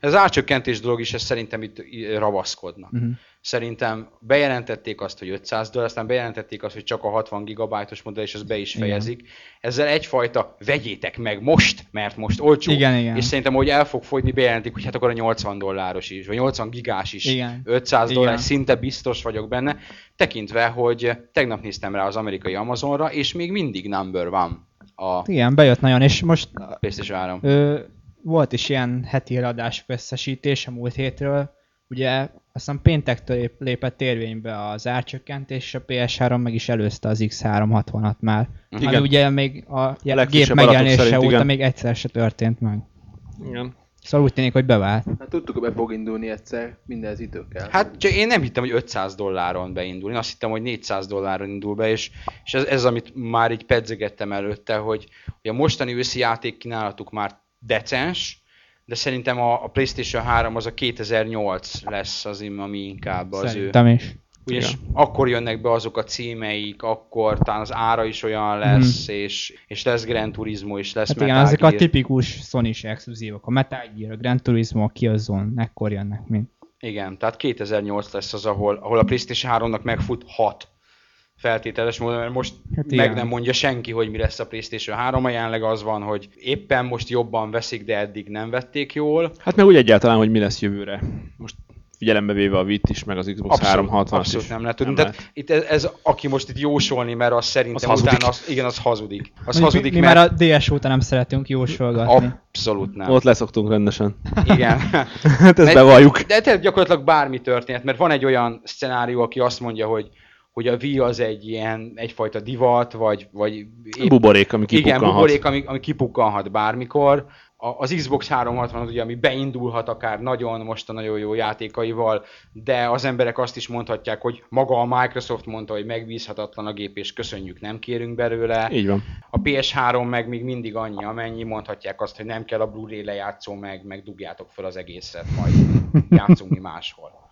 Ez árcsökkentés dolog is, ez szerintem itt i- ravaszkodnak.
Mhm.
szerintem bejelentették azt, hogy 500 dollár, aztán bejelentették azt, hogy csak a 60 gigabájtos modell, és az be is
Igen.
fejezik. Igen. Ezzel egyfajta vegyétek meg most, mert most olcsó.
Igen, igen.
És szerintem, hogy el fog fogyni, bejelentik, hogy hát akkor a 80 dolláros is, vagy 80 gigás is,
Igen.
500
Igen.
dollár, szinte biztos vagyok benne, tekintve, hogy tegnap néztem rá az amerikai Amazonra, és még mindig number van a
Hát Igen, bejött nagyon, és most
PlayStation 3.
Ö, volt is ilyen heti eladás összesítés a múlt hétről. Ugye azt hiszem péntektől lép- lépett érvénybe az árcsökkentés, és a PS3 meg is előzte az X360-at már. Igen.
Igen.
Ami ugye még a je-
legfrissebb
gép
adatok
megjelenése
szerint,
óta
igen.
még egyszer se történt meg.
Igen.
Szóval úgy tűnik, hogy bevált.
Hát tudtuk, hogy be fog indulni egyszer, mindenhez idő kell.
Hát csak én nem hittem, hogy 500 dolláron beindul. Én azt hittem, hogy 400 dolláron indul be, és, és ez, ez, amit már így pedzegettem előtte, hogy, hogy a mostani őszi játék kínálatuk már decens, de szerintem a, a PlayStation 3 az a 2008 lesz az, im- ami inkább az ő.
Szerintem is.
Ugyanis
Igen.
akkor jönnek be azok a címeik, akkor talán az ára is olyan lesz, és, és lesz Gran Turismo, és lesz
Mhm. Hát igen,
Metal
ezek a
Gear.
tipikus sony exkluzívok. A Metal Gear, a Gran Turismo, a Killzone, ekkor jönnek mind.
Igen, tehát 2008 lesz az, ahol, ahol a PlayStation 3-nak megfut 6 feltételes módon, mert most
Hát
hát meg
igen.
nem mondja senki, hogy mi lesz a PlayStation 3, jelenleg az van, hogy éppen most jobban veszik, de eddig nem vették jól.
Hát meg úgy egyáltalán, hogy mi lesz jövőre. Most figyelembe véve a Vit is, meg az Xbox 360 is.
abszolút nem lehet tudni. Tehát itt ez, ez, aki most itt jósolni, mert az szerintem
Az hazudik.
utána, az, igen, az hazudik. Az
Mondjuk
hazudik,
mi, mi
mert
már a DS óta nem szeretünk jósolgatni.
abszolút nem.
Hát Ott leszoktunk rendesen.
Igen.
Hát ezt
Mert-
bevalljuk.
De tehát gyakorlatilag bármi történhet, mert van egy olyan szcenárió, aki azt mondja, hogy hogy a Wii az egy ilyen, egyfajta divat, vagy, vagy épp-
Buborék, ami
Igen,
kipukkanhat.
buborék, ami, ami kipukkanhat bármikor. A, az Xbox 360 ugye, ami beindulhat akár nagyon, most a nagyon jó játékaival, de az emberek azt is mondhatják, hogy maga a Microsoft mondta, hogy megbízhatatlan a gép, és köszönjük, nem kérünk belőle.
Így van.
A PS3 meg még mindig annyi, amennyi mondhatják azt, hogy nem kell a Blu-ray lejátszó, meg, meg dugjátok fel az egészet, majd játszunk mi máshol.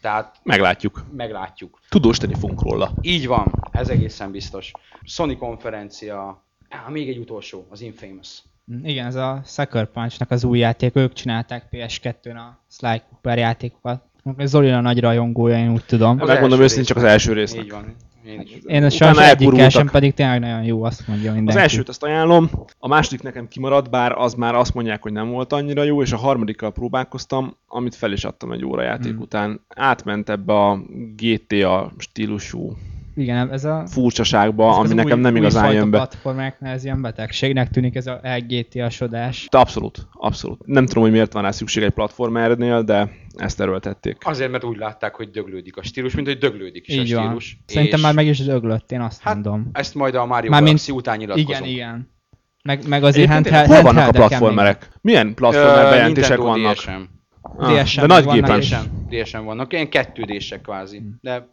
Tehát
Meglátjuk.
meglátjuk.
Tudósítani fogunk róla.
Így van, ez egészen biztos. Sony konferencia, Á, még egy utolsó, az Infamous.
Mm, Igen, ez a Sucker Punch-nak az új játék, ők csinálták PS2-n a Sly Cooper játékokat. Zoli a nagy rajongója, én úgy tudom.
Az
Megmondom
első
őszintén, csak az első résznek.
Így van, én is.
Én
utána
sajnos egyikkel
elkurvultak.
sem, pedig tényleg nagyon jó, azt mondja
Az
mindenki.
elsőt azt ajánlom, a második nekem kimaradt, bár az már azt mondják, hogy nem volt annyira jó, és a harmadikkal próbálkoztam, amit fel is adtam egy óra játék
Mm.
után. Átment ebbe a GTA stílusú
Igen, ez a...
furcsaságba,
ez
ami
az
nekem
új,
nem igazán
újfajta
jön be.
platformáknál ez ilyen betegségnek tűnik, ez a LGT-asodás.
De abszolút, abszolút. Nem tudom, hogy miért van rá szükség egy platformernél, de ezt erőltették.
Azért, mert úgy látták, hogy döglődik a stílus, mint hogy döglődik is a
Így van.
stílus.
Szerintem
És
már meg is döglött, én azt
Hát,
mondom.
Ezt majd a Mario
Mármint-
Galaxy után nyilatkozunk.
Igen, igen. Meg, meg azért
Egyébként
handheld,
tényleg hol vannak a
handheldeken még-
platformerek? Milyen
Ö,
platformer bejelentések
Nintendo
vannak?
DS-en.
Ah,
DS-en
de nagy
vannak
gépen.
is.
DS-en vannak, ilyen kettődések kvázi. De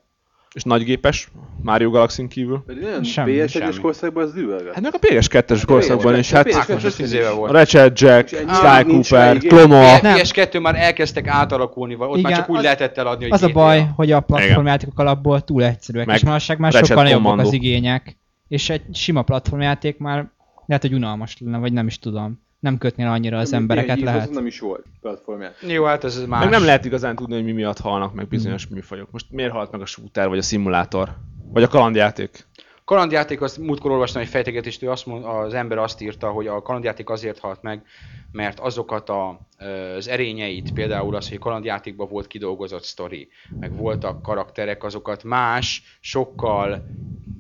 És nagygépes, Mario Galaxy kívül.
Pedig olyan
Semmi,
PS1-es
semmi.
korszakban az üveget.
Hát meg a PS2-es korszakban is, hát
hát most
PS2-es
ez 10 éve
a
volt.
Ratchet Jack,
És ennyi
Sly
nincs
Cooper,
még.
Kloma,
A PS2 már elkezdtek átalakulni, vagy ott
Igen,
már csak úgy
az-
lehetett eladni, hogy
Az a
GTA.
baj, hogy a platformjátékok alapból túl egyszerűek,
Meg
és manapság már
Ratchet
sokkal jobbak
Commando.
az igények. És egy sima platformjáték már lehet, hogy unalmas lenne, vagy nem is tudom. Nem kötnél annyira az
Ami
embereket,
ilyen hív, az
lehet.
Nem is volt platformját.
Jó, hát ez más.
Meg nem lehet igazán tudni, hogy mi miatt halnak meg bizonyos
Hmm.
műfajok. Most miért halt meg a shooter, vagy a szimulátor, vagy a kalandjáték?
Kalandjáték, azt múltkor olvastam egy fejtegetést, ő azt mond, az ember azt írta, hogy a kalandjáték azért halt meg, mert azokat a, ö, az erényeit, például az, hogy kalandjátékban volt kidolgozott sztori, meg voltak karakterek, azokat más, sokkal,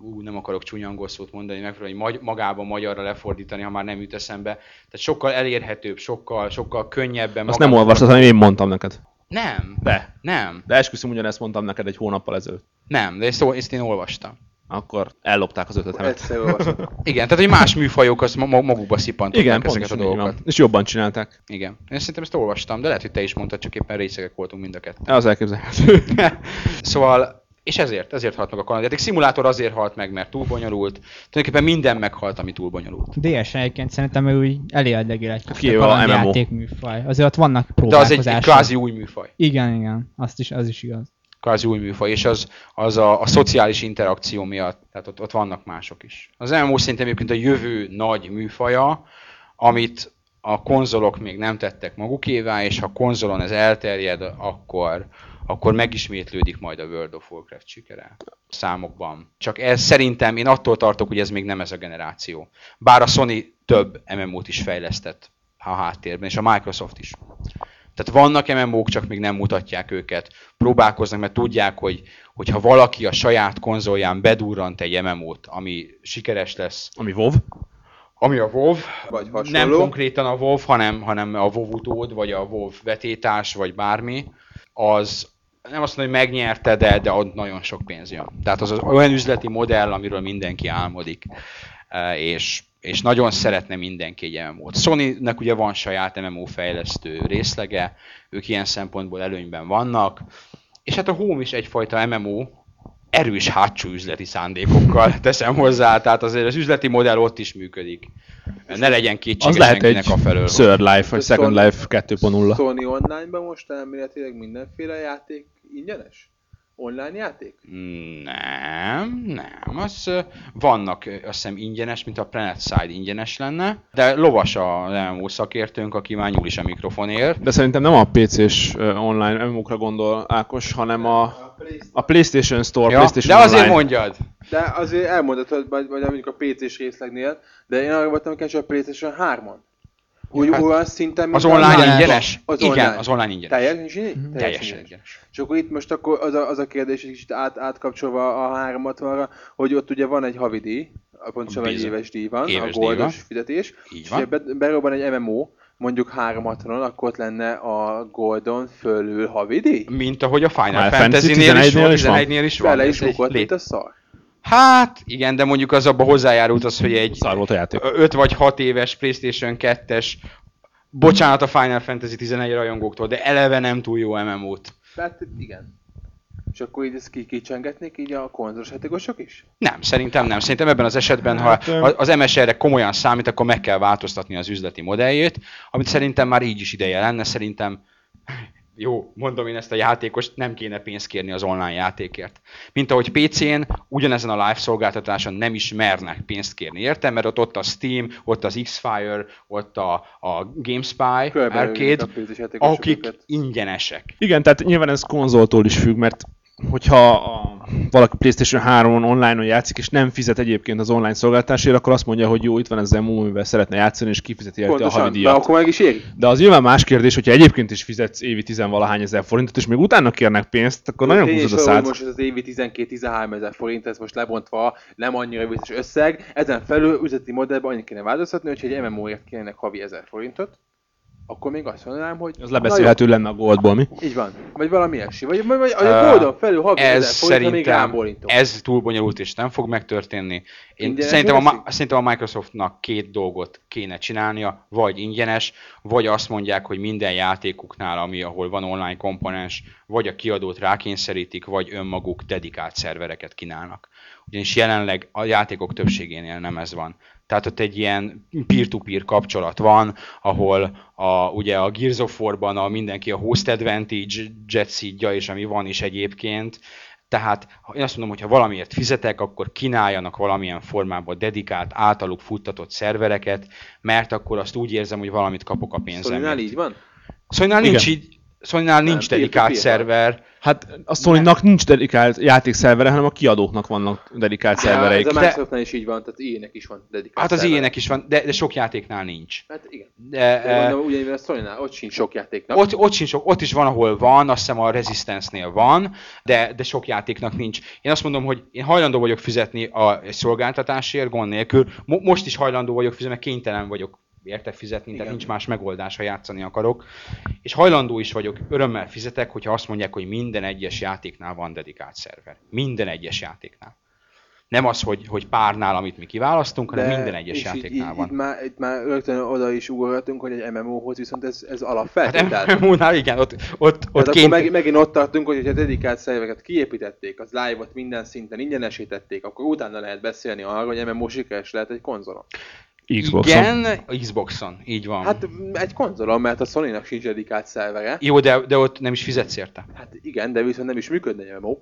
ú, nem akarok csúnya angol szót mondani, megfelelően hogy magy- magába magyarra lefordítani, ha már nem jut eszembe, tehát sokkal elérhetőbb, sokkal, sokkal könnyebben.
Azt
magába-
nem olvastad, hanem én mondtam neked.
Nem,
De.
nem,
De esküszöm, ugyanezt mondtam neked egy hónappal ezelőtt.
nem, de ezt, ezt én olvastam.
Akkor ellopták az ötletemet.
Egyszer olvastam.
Igen, tehát hogy más műfajok azt ma- magukba szippantották
Igen,
ezeket a
pontosan így
dolgokat.
van. És jobban csinálták.
Igen. Én szerintem ezt olvastam, de lehet, hogy te is mondtad, csak éppen részegek voltunk mind a ketten.
Az elképzelhető.
szóval, és ezért, ezért halt meg a kalandjáték. Szimulátor azért halt meg, mert túl bonyolult. Tulajdonképpen minden meghalt, ami túl bonyolult.
DS egyébként szerintem ő úgy elérdegél egy
Ki jó, a
kalandjáték műfaj. Azért ott vannak
De az egy,
próbálkozások.
egy kvázi új műfaj.
Igen, igen. Azt is, az is igaz.
Kvázi új műfaj, és az, az a, a szociális interakció miatt, tehát ott, ott vannak mások is. Az MMO szerintem egyébként a jövő nagy műfaja, amit a konzolok még nem tettek magukévá, és ha konzolon ez elterjed, akkor, akkor megismétlődik majd a World of Warcraft sikere számokban. Csak ez szerintem, én attól tartok, hogy ez még nem ez a generáció. Bár a Sony több MMO-t is fejlesztett a háttérben, és a Microsoft is. Tehát vannak MMO-k, csak még nem mutatják őket. Próbálkoznak, mert tudják, hogy hogyha valaki a saját konzolján bedurrant egy MMO-t, ami sikeres lesz,
Ami WoW.
ami a WoW,
Vagy
nem
hasonló.
konkrétan a WoW, hanem, hanem a WoW utód, vagy a WoW vetétás, vagy bármi, az nem azt mondom, hogy megnyerte, de, de ott nagyon sok pénz jön. Tehát az, az olyan üzleti modell, amiről mindenki álmodik, eh, és, és nagyon szeretne mindenki egy MMO-t. Sony-nek ugye van saját MMO fejlesztő részlege, ők ilyen szempontból előnyben vannak, és hát a Home is egyfajta MMO, erős hátsó üzleti szándékokkal teszem hozzá, tehát azért az üzleti modell ott is működik. Ne legyen
Az
kétséges
lehet egy
senkinek a felől.
Third Life, vagy
A
Second
Sony-
Life 2.0.
Sony online-ban most elméletileg mindenféle játék ingyenes? Online játék?
Nem, nem. Az, ö, vannak ö, azt hiszem ingyenes, mint a Planet Side ingyenes lenne, de lovas a MMO szakértőnk, aki már nyúl is a mikrofonért.
De szerintem nem a PC-s ö, online MMO-kra gondol Ákos, hanem a, a PlayStation Store,
Ja,
PlayStation
de azért
Online.
mondjad!
De azért elmondhatod, vagy, vagy mondjuk a PC-s részlegnél, de én arra voltam kereső a PlayStation 3-on. Úgy
Ja, hát
olyan szinten, mint
Az
a
online
Microsoft.
ingyenes?
Az
Igen,
online.
az online ingyenes.
Teljesen ingyenes?
Teljesen ingyenes.
És akkor itt most akkor az a, az a kérdés, egy kicsit át, átkapcsolva a 360-ra, hogy ott ugye van egy havidíj, a pontosan egy
Bizony.
éves díj van,
Éves díj
a goldos
van.
fizetés,
Így
és
van.
ugye be- berobban egy MMO, mondjuk 360-on, akkor ott lenne a Goldon fölül havidíj?
Mint ahogy a Final
Final
Fantasy-nél is, van,
11-nél is van.
11-nél is van.
Bele is
Ez egy
bukott
lét-
itt a szar.
Hát, igen, de mondjuk az abba hozzájárult az, hogy egy
Szar volt a játék.
5 vagy 6 éves PlayStation 2-es, bocsánat a Final Fantasy 11 rajongóktól, de eleve nem túl jó MMO-t.
Hát igen. És akkor így ezt kikicsengetnék így a konzolos játékosok is?
Nem, szerintem nem. Szerintem ebben az esetben, ha
Hát, öm.
a- az MSR-re komolyan számít, akkor meg kell változtatni az üzleti modelljét, amit szerintem már így is ideje lenne. Szerintem, jó, mondom én ezt a játékost, nem kéne pénzt kérni az online játékért. Mint ahogy PC-n, ugyanezen a live szolgáltatáson nem is mernek pénzt kérni, értem? Mert ott, ott a Steam, ott az X-Fire, ott a, a GameSpy,
Körbeölünk
Arcade,
a pénzes játékosokat.
akik ingyenesek.
Igen, tehát nyilván ez konzoltól is függ, mert hogyha a, valaki PlayStation 3-on online-on játszik, és nem fizet egyébként az online szolgáltásért, akkor azt mondja, hogy jó, itt van ez a MMO, amivel szeretne játszani, és kifizeti érte a
Pontosan, de
havidíjat.
akkor meg is éri.
De az nyilván más kérdés, hogyha egyébként is fizetsz évi tizenvalahány ezer forintot, és még utána kérnek pénzt, akkor nagyon
Tény
húzod
is
a
van, hogy
szád.
Most ez az évi 12-13 ezer forint, ez most lebontva nem annyira biztos összeg. Ezen felül üzleti modellben annyit kéne változtatni, hogyha egy MMO-ért kérnek havi 1000 forintot, akkor még azt mondanám, hogy...
Az lebeszélhető lenne a goldból, mi?
Így van. Vagy valami ilyesmi. Vagy, vagy, vagy a Goldon felül havi
ez
ezer forint, de még rám
szerintem,
bolintom.
ez túl bonyolult és nem fog megtörténni. Én
Ingyenes
szerintem, a, Ma-
lesz?
szerintem a Microsoftnak két dolgot kéne csinálnia, vagy ingyenes, vagy azt mondják, hogy minden játékuknál, ami ahol van online komponens, vagy a kiadót rákényszerítik, vagy önmaguk dedikált szervereket kínálnak. Ugyanis jelenleg a játékok többségénél nem ez van. Tehát ott egy ilyen peer-to-peer kapcsolat van, ahol a, ugye a Gears of War-ban a mindenki a host advantage jet seedja, és ami van is egyébként, tehát ha- én azt mondom, hogy ha valamiért fizetek, akkor kínáljanak valamilyen formában dedikált, általuk futtatott szervereket, mert akkor azt úgy érzem, hogy valamit kapok a pénzemért.
Szóval így van?
Szolynál nincs így, Szolynál nincs
peer-to-peer
dedikált
van.
szerver.
Hát a Sony-nak nincs dedikált játékszervere, hanem a kiadóknak vannak dedikált
Ja, Hát, ez
szervereik.
a
De-
Microsoftnál is így van, tehát ilyenek is van dedikált
Hát az
szerverek.
ilyenek is van, de, de sok játéknál nincs.
Hát igen.
De,
De
eh,
mondom, ugyanilyen a Sony-nál, ott sincs sok játéknak.
Ott, ott, sincs, sok- ott is van, ahol van, azt hiszem a Resistance-nél van, de, de sok játéknak nincs. Én azt mondom, hogy én hajlandó vagyok fizetni a egy szolgáltatásért, gond nélkül. Mo- most is hajlandó vagyok fizetni, mert kénytelen vagyok érte fizetni, tehát
Igen.
nincs más megoldás, ha játszani akarok. És hajlandó is vagyok, örömmel fizetek, hogyha azt mondják, hogy minden egyes játéknál van dedikált szerver. Minden egyes játéknál. Nem az, hogy, hogy párnál, amit mi kiválasztunk, hanem minden egyes
és így-
játéknál
így,
van.
Itt már, itt már rögtön oda is ugorhatunk, hogy egy MMO-hoz viszont ez, ez alapfeltétel.
Hát MMO-nál igen, ott, ott,
Ott
ott
hát
kényt-
akkor meg, megint ott tartunk, hogy ha dedikált szerveket kiépítették, az live-ot minden szinten ingyenesítették, akkor utána lehet beszélni arról, hogy MMO sikeres lehet egy konzolon.
Xboxon.
Igen, Xboxon, így van. Hát,
Hát egy konzolon, mert a Sony-nak sincs dedikált szervere.
Jó, de, de ott nem is fizetsz érte.
Hát igen, de viszont nem is működne egy MMO.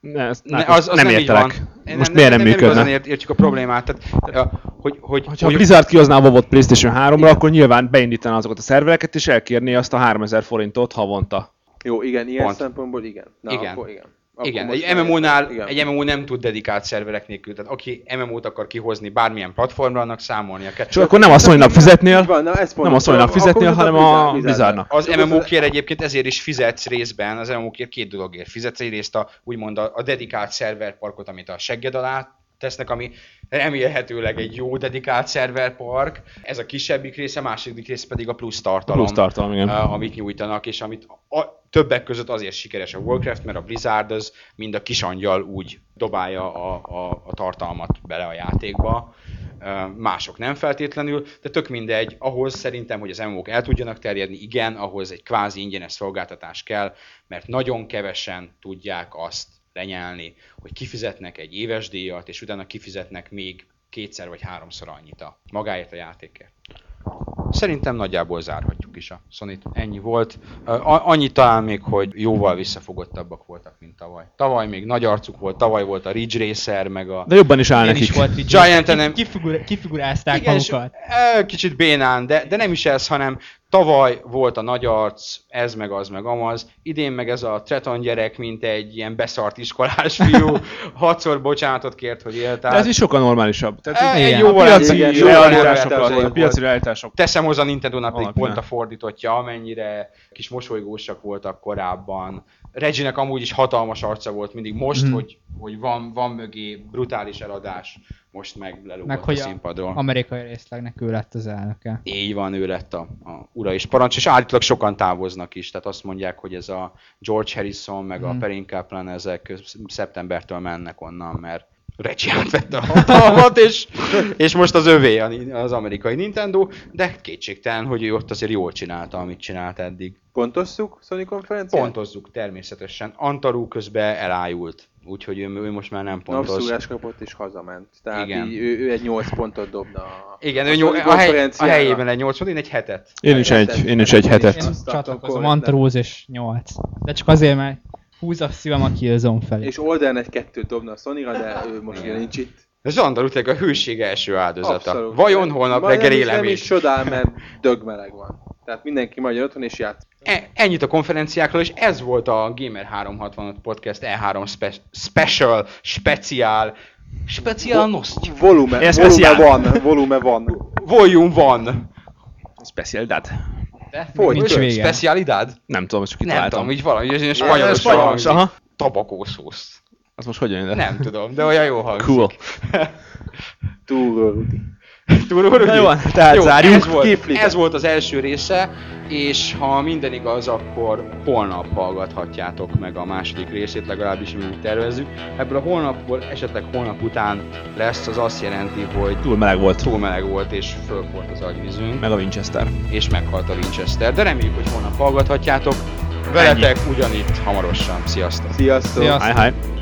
Ne, ezt,
Ne,
ne, az, az Hát nem,
így
értelek.
Én
Most miért nem, működne?
igazán ért, értjük a problémát. Tehát, eh, hogy, hogy,
Hogyha a
hogy
Blizzard kihozná a WoW-ot PlayStation 3-ra, akkor nyilván beindítaná azokat a szervereket, és elkérné azt a 3000 forintot havonta.
Jó, igen, ilyen
Pont.
szempontból igen. Na,
Igen.
akkor igen. Akkor
igen,
most
egy
már
MMO-nál
értem.
egy MMO nem tud dedikált szerverek nélkül. Tehát aki MMO-t akar kihozni bármilyen platformra, annak számolnia kell.
Csak akkor nem a Sony-nak
Így
fizetnél,
van, na, ez pont
nem a Sony-nak
akkor
fizetnél,
viszont
hanem a
Blizzard-
Blizzardnak.
Az
Csak az-
MMO-kért egyébként ezért is fizetsz részben, az MMO-kért két dologért fizetsz. Egyrészt a, úgymond a, a dedikált szerverparkot, amit a segged alá tesznek, ami remélhetőleg egy jó dedikált szerverpark. Ez a kisebbik része, a második rész pedig a plusz tartalom,
plusz tartalom, igen.
eh, amit nyújtanak, és amit a, többek között azért sikeres a Warcraft, mert a Blizzard az mind a kisangyal úgy dobálja a, a, a tartalmat bele a játékba, Ö, mások nem feltétlenül, de tök mindegy, ahhoz szerintem, hogy az MMO-k el tudjanak terjedni, igen, ahhoz egy kvázi ingyenes szolgáltatás kell, mert nagyon kevesen tudják azt lenyelni, hogy kifizetnek egy éves díjat, és utána kifizetnek még kétszer vagy háromszor annyit a magáért a játékért. Szerintem nagyjából zárhatjuk is a sony Ennyi volt. Ö, a- Annyi talán még, hogy jóval visszafogottabbak voltak, mint tavaly. Tavaly még nagy arcuk volt, tavaly volt a Ridge Racer, meg a...
De jobban is áll
Én is
nekik.
volt Ridge
Giant
Racer.
nem-
Ki- kifigura- Kifigurázták
Igen, és,
magukat.
ö, kicsit bénán, de, de nem is ez, hanem tavaly volt a nagy arc, ez meg az meg amaz, idén meg ez a treton gyerek, mint egy ilyen beszart iskolás fiú, hatszor bocsánatot kért, hogy
De
éltál.
ez is sokkal normálisabb. Tehát
Ö,
így
igen.
a
jóval
piaci
igen,
jóval
realitások
realitások
alatt, a piaci realitások.
Teszem hozzá a Nintendo-nak még
Alapján.
pont a fordítottja, amennyire kis mosolygósak voltak korábban. Reggie-nek amúgy is hatalmas arca volt mindig, most,
Mhm.
hogy, hogy van, van mögé brutális eladás, most meg lelógott
Meg
a
hogy a
színpadról.
amerikai részlegnek ő lett az elnöke.
Így van, ő lett a, a ura és parancs, és állítólag sokan távoznak is, tehát azt mondják, hogy ez a George Harrison, meg a
Hmm.
Mhm.
Perrin Kaplan, ezek köz- szeptembertől mennek onnan, mert Reggie átvette a hatalmat, és, és most az övé a- az amerikai Nintendo, de kétségtelen, hogy ő ott azért jól csinálta, amit csinált eddig.
Pontosszuk Sony konferenciát?
Pontozzuk természetesen. Antarú közben elájult, úgyhogy ő, ő most már nem pontoz.
Napszúrás kapott és hazament. Tehát
Igen.
Így, ő, ő, egy 8 pontot dobna. a-
Igen,
a
ő nyol,
Sony
a, hely, a
konferenciára.
helyében egy 8 én egy hetet.
Én is egy, én is egy hetet.
Én
Startokon
csatlakozom,
lett, nem?
Antrúz és 8. De csak azért, mert húz a szívem a Killzone felé.
És Olden egy kettőt dobna a Sonyra, de ő most ugye nincs itt.
Ez Andor tényleg a hőség első áldozata.
Abszolút.
Vajon holnap
Majd nem
reggel
is- Nem
élemény?
is csodál, mert dögmeleg van. Tehát mindenki magyar otthon és játsz.
E- ennyit a konferenciákról, és ez volt a Gamer 365 Podcast E3 spe- Special, speciál, speciál noszt.
Volume,
Ez
volume
speciál.
van, volume van.
Volume van.
Special dad.
Folyt.
Nincs vége.
Specialidad?
Nem tudom, ezt csak
Nem
kitaláltam.
tudom, így valami, és
Ez
spanyol
spanyolos,
spanyol
aha.
tabakószósz.
Az most hogy jön ide?
Nem tudom, de olyan jó hangzik.
Cool.
Túl.
Túrórugjuk?
Na jó, tehát zárjuk.
Ez volt,
Képlite.
ez volt az első része, és ha minden igaz, akkor holnap hallgathatjátok meg a második részét, legalábbis mi úgy tervezzük. Ebből a holnapból esetleg holnap után lesz, az azt jelenti, hogy
Túl meleg volt.
túl meleg volt és fölport az agyvízünk,
Meg a Winchester.
és meghalt a Winchester, de reméljük, hogy holnap hallgathatjátok. Veletek ugyanitt hamarosan. Sziasztok!
Sziasztok!
Sziasztok.
Hi, hi.